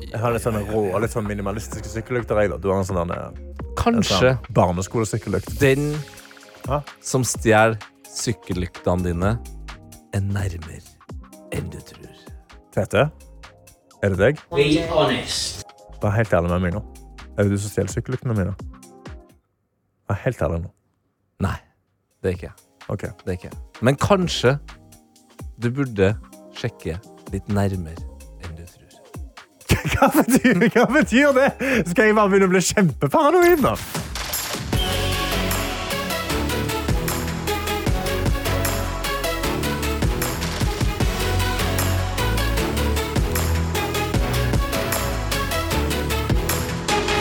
[SPEAKER 4] Jeg har litt sånn rå og litt sånn minimalistiske sykkellykter. jeg, da. Du har en sånn der, eh,
[SPEAKER 3] Kanskje
[SPEAKER 4] en sånn barneskolesykkellykt.
[SPEAKER 3] den
[SPEAKER 4] Hæ?
[SPEAKER 3] som stjeler sykkellyktene dine, er nærmere enn du tror.
[SPEAKER 4] Tete, er det deg?
[SPEAKER 2] Be honest.
[SPEAKER 4] Vær helt ærlig med meg nå. Er det du som stjeler sykkellyktene mine? Vær helt ærlig nå.
[SPEAKER 3] Nei, det er ikke jeg.
[SPEAKER 4] Ok.
[SPEAKER 3] Det er ikke jeg. Men kanskje du burde sjekke litt nærmere enn du tror.
[SPEAKER 4] Hva betyr, hva betyr det? Skal jeg bare begynne å bli kjempeparanoid nå?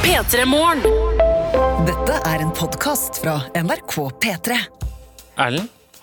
[SPEAKER 2] P3 Morgen.
[SPEAKER 14] Dette er en podkast fra NRK P3.
[SPEAKER 15] Erlend,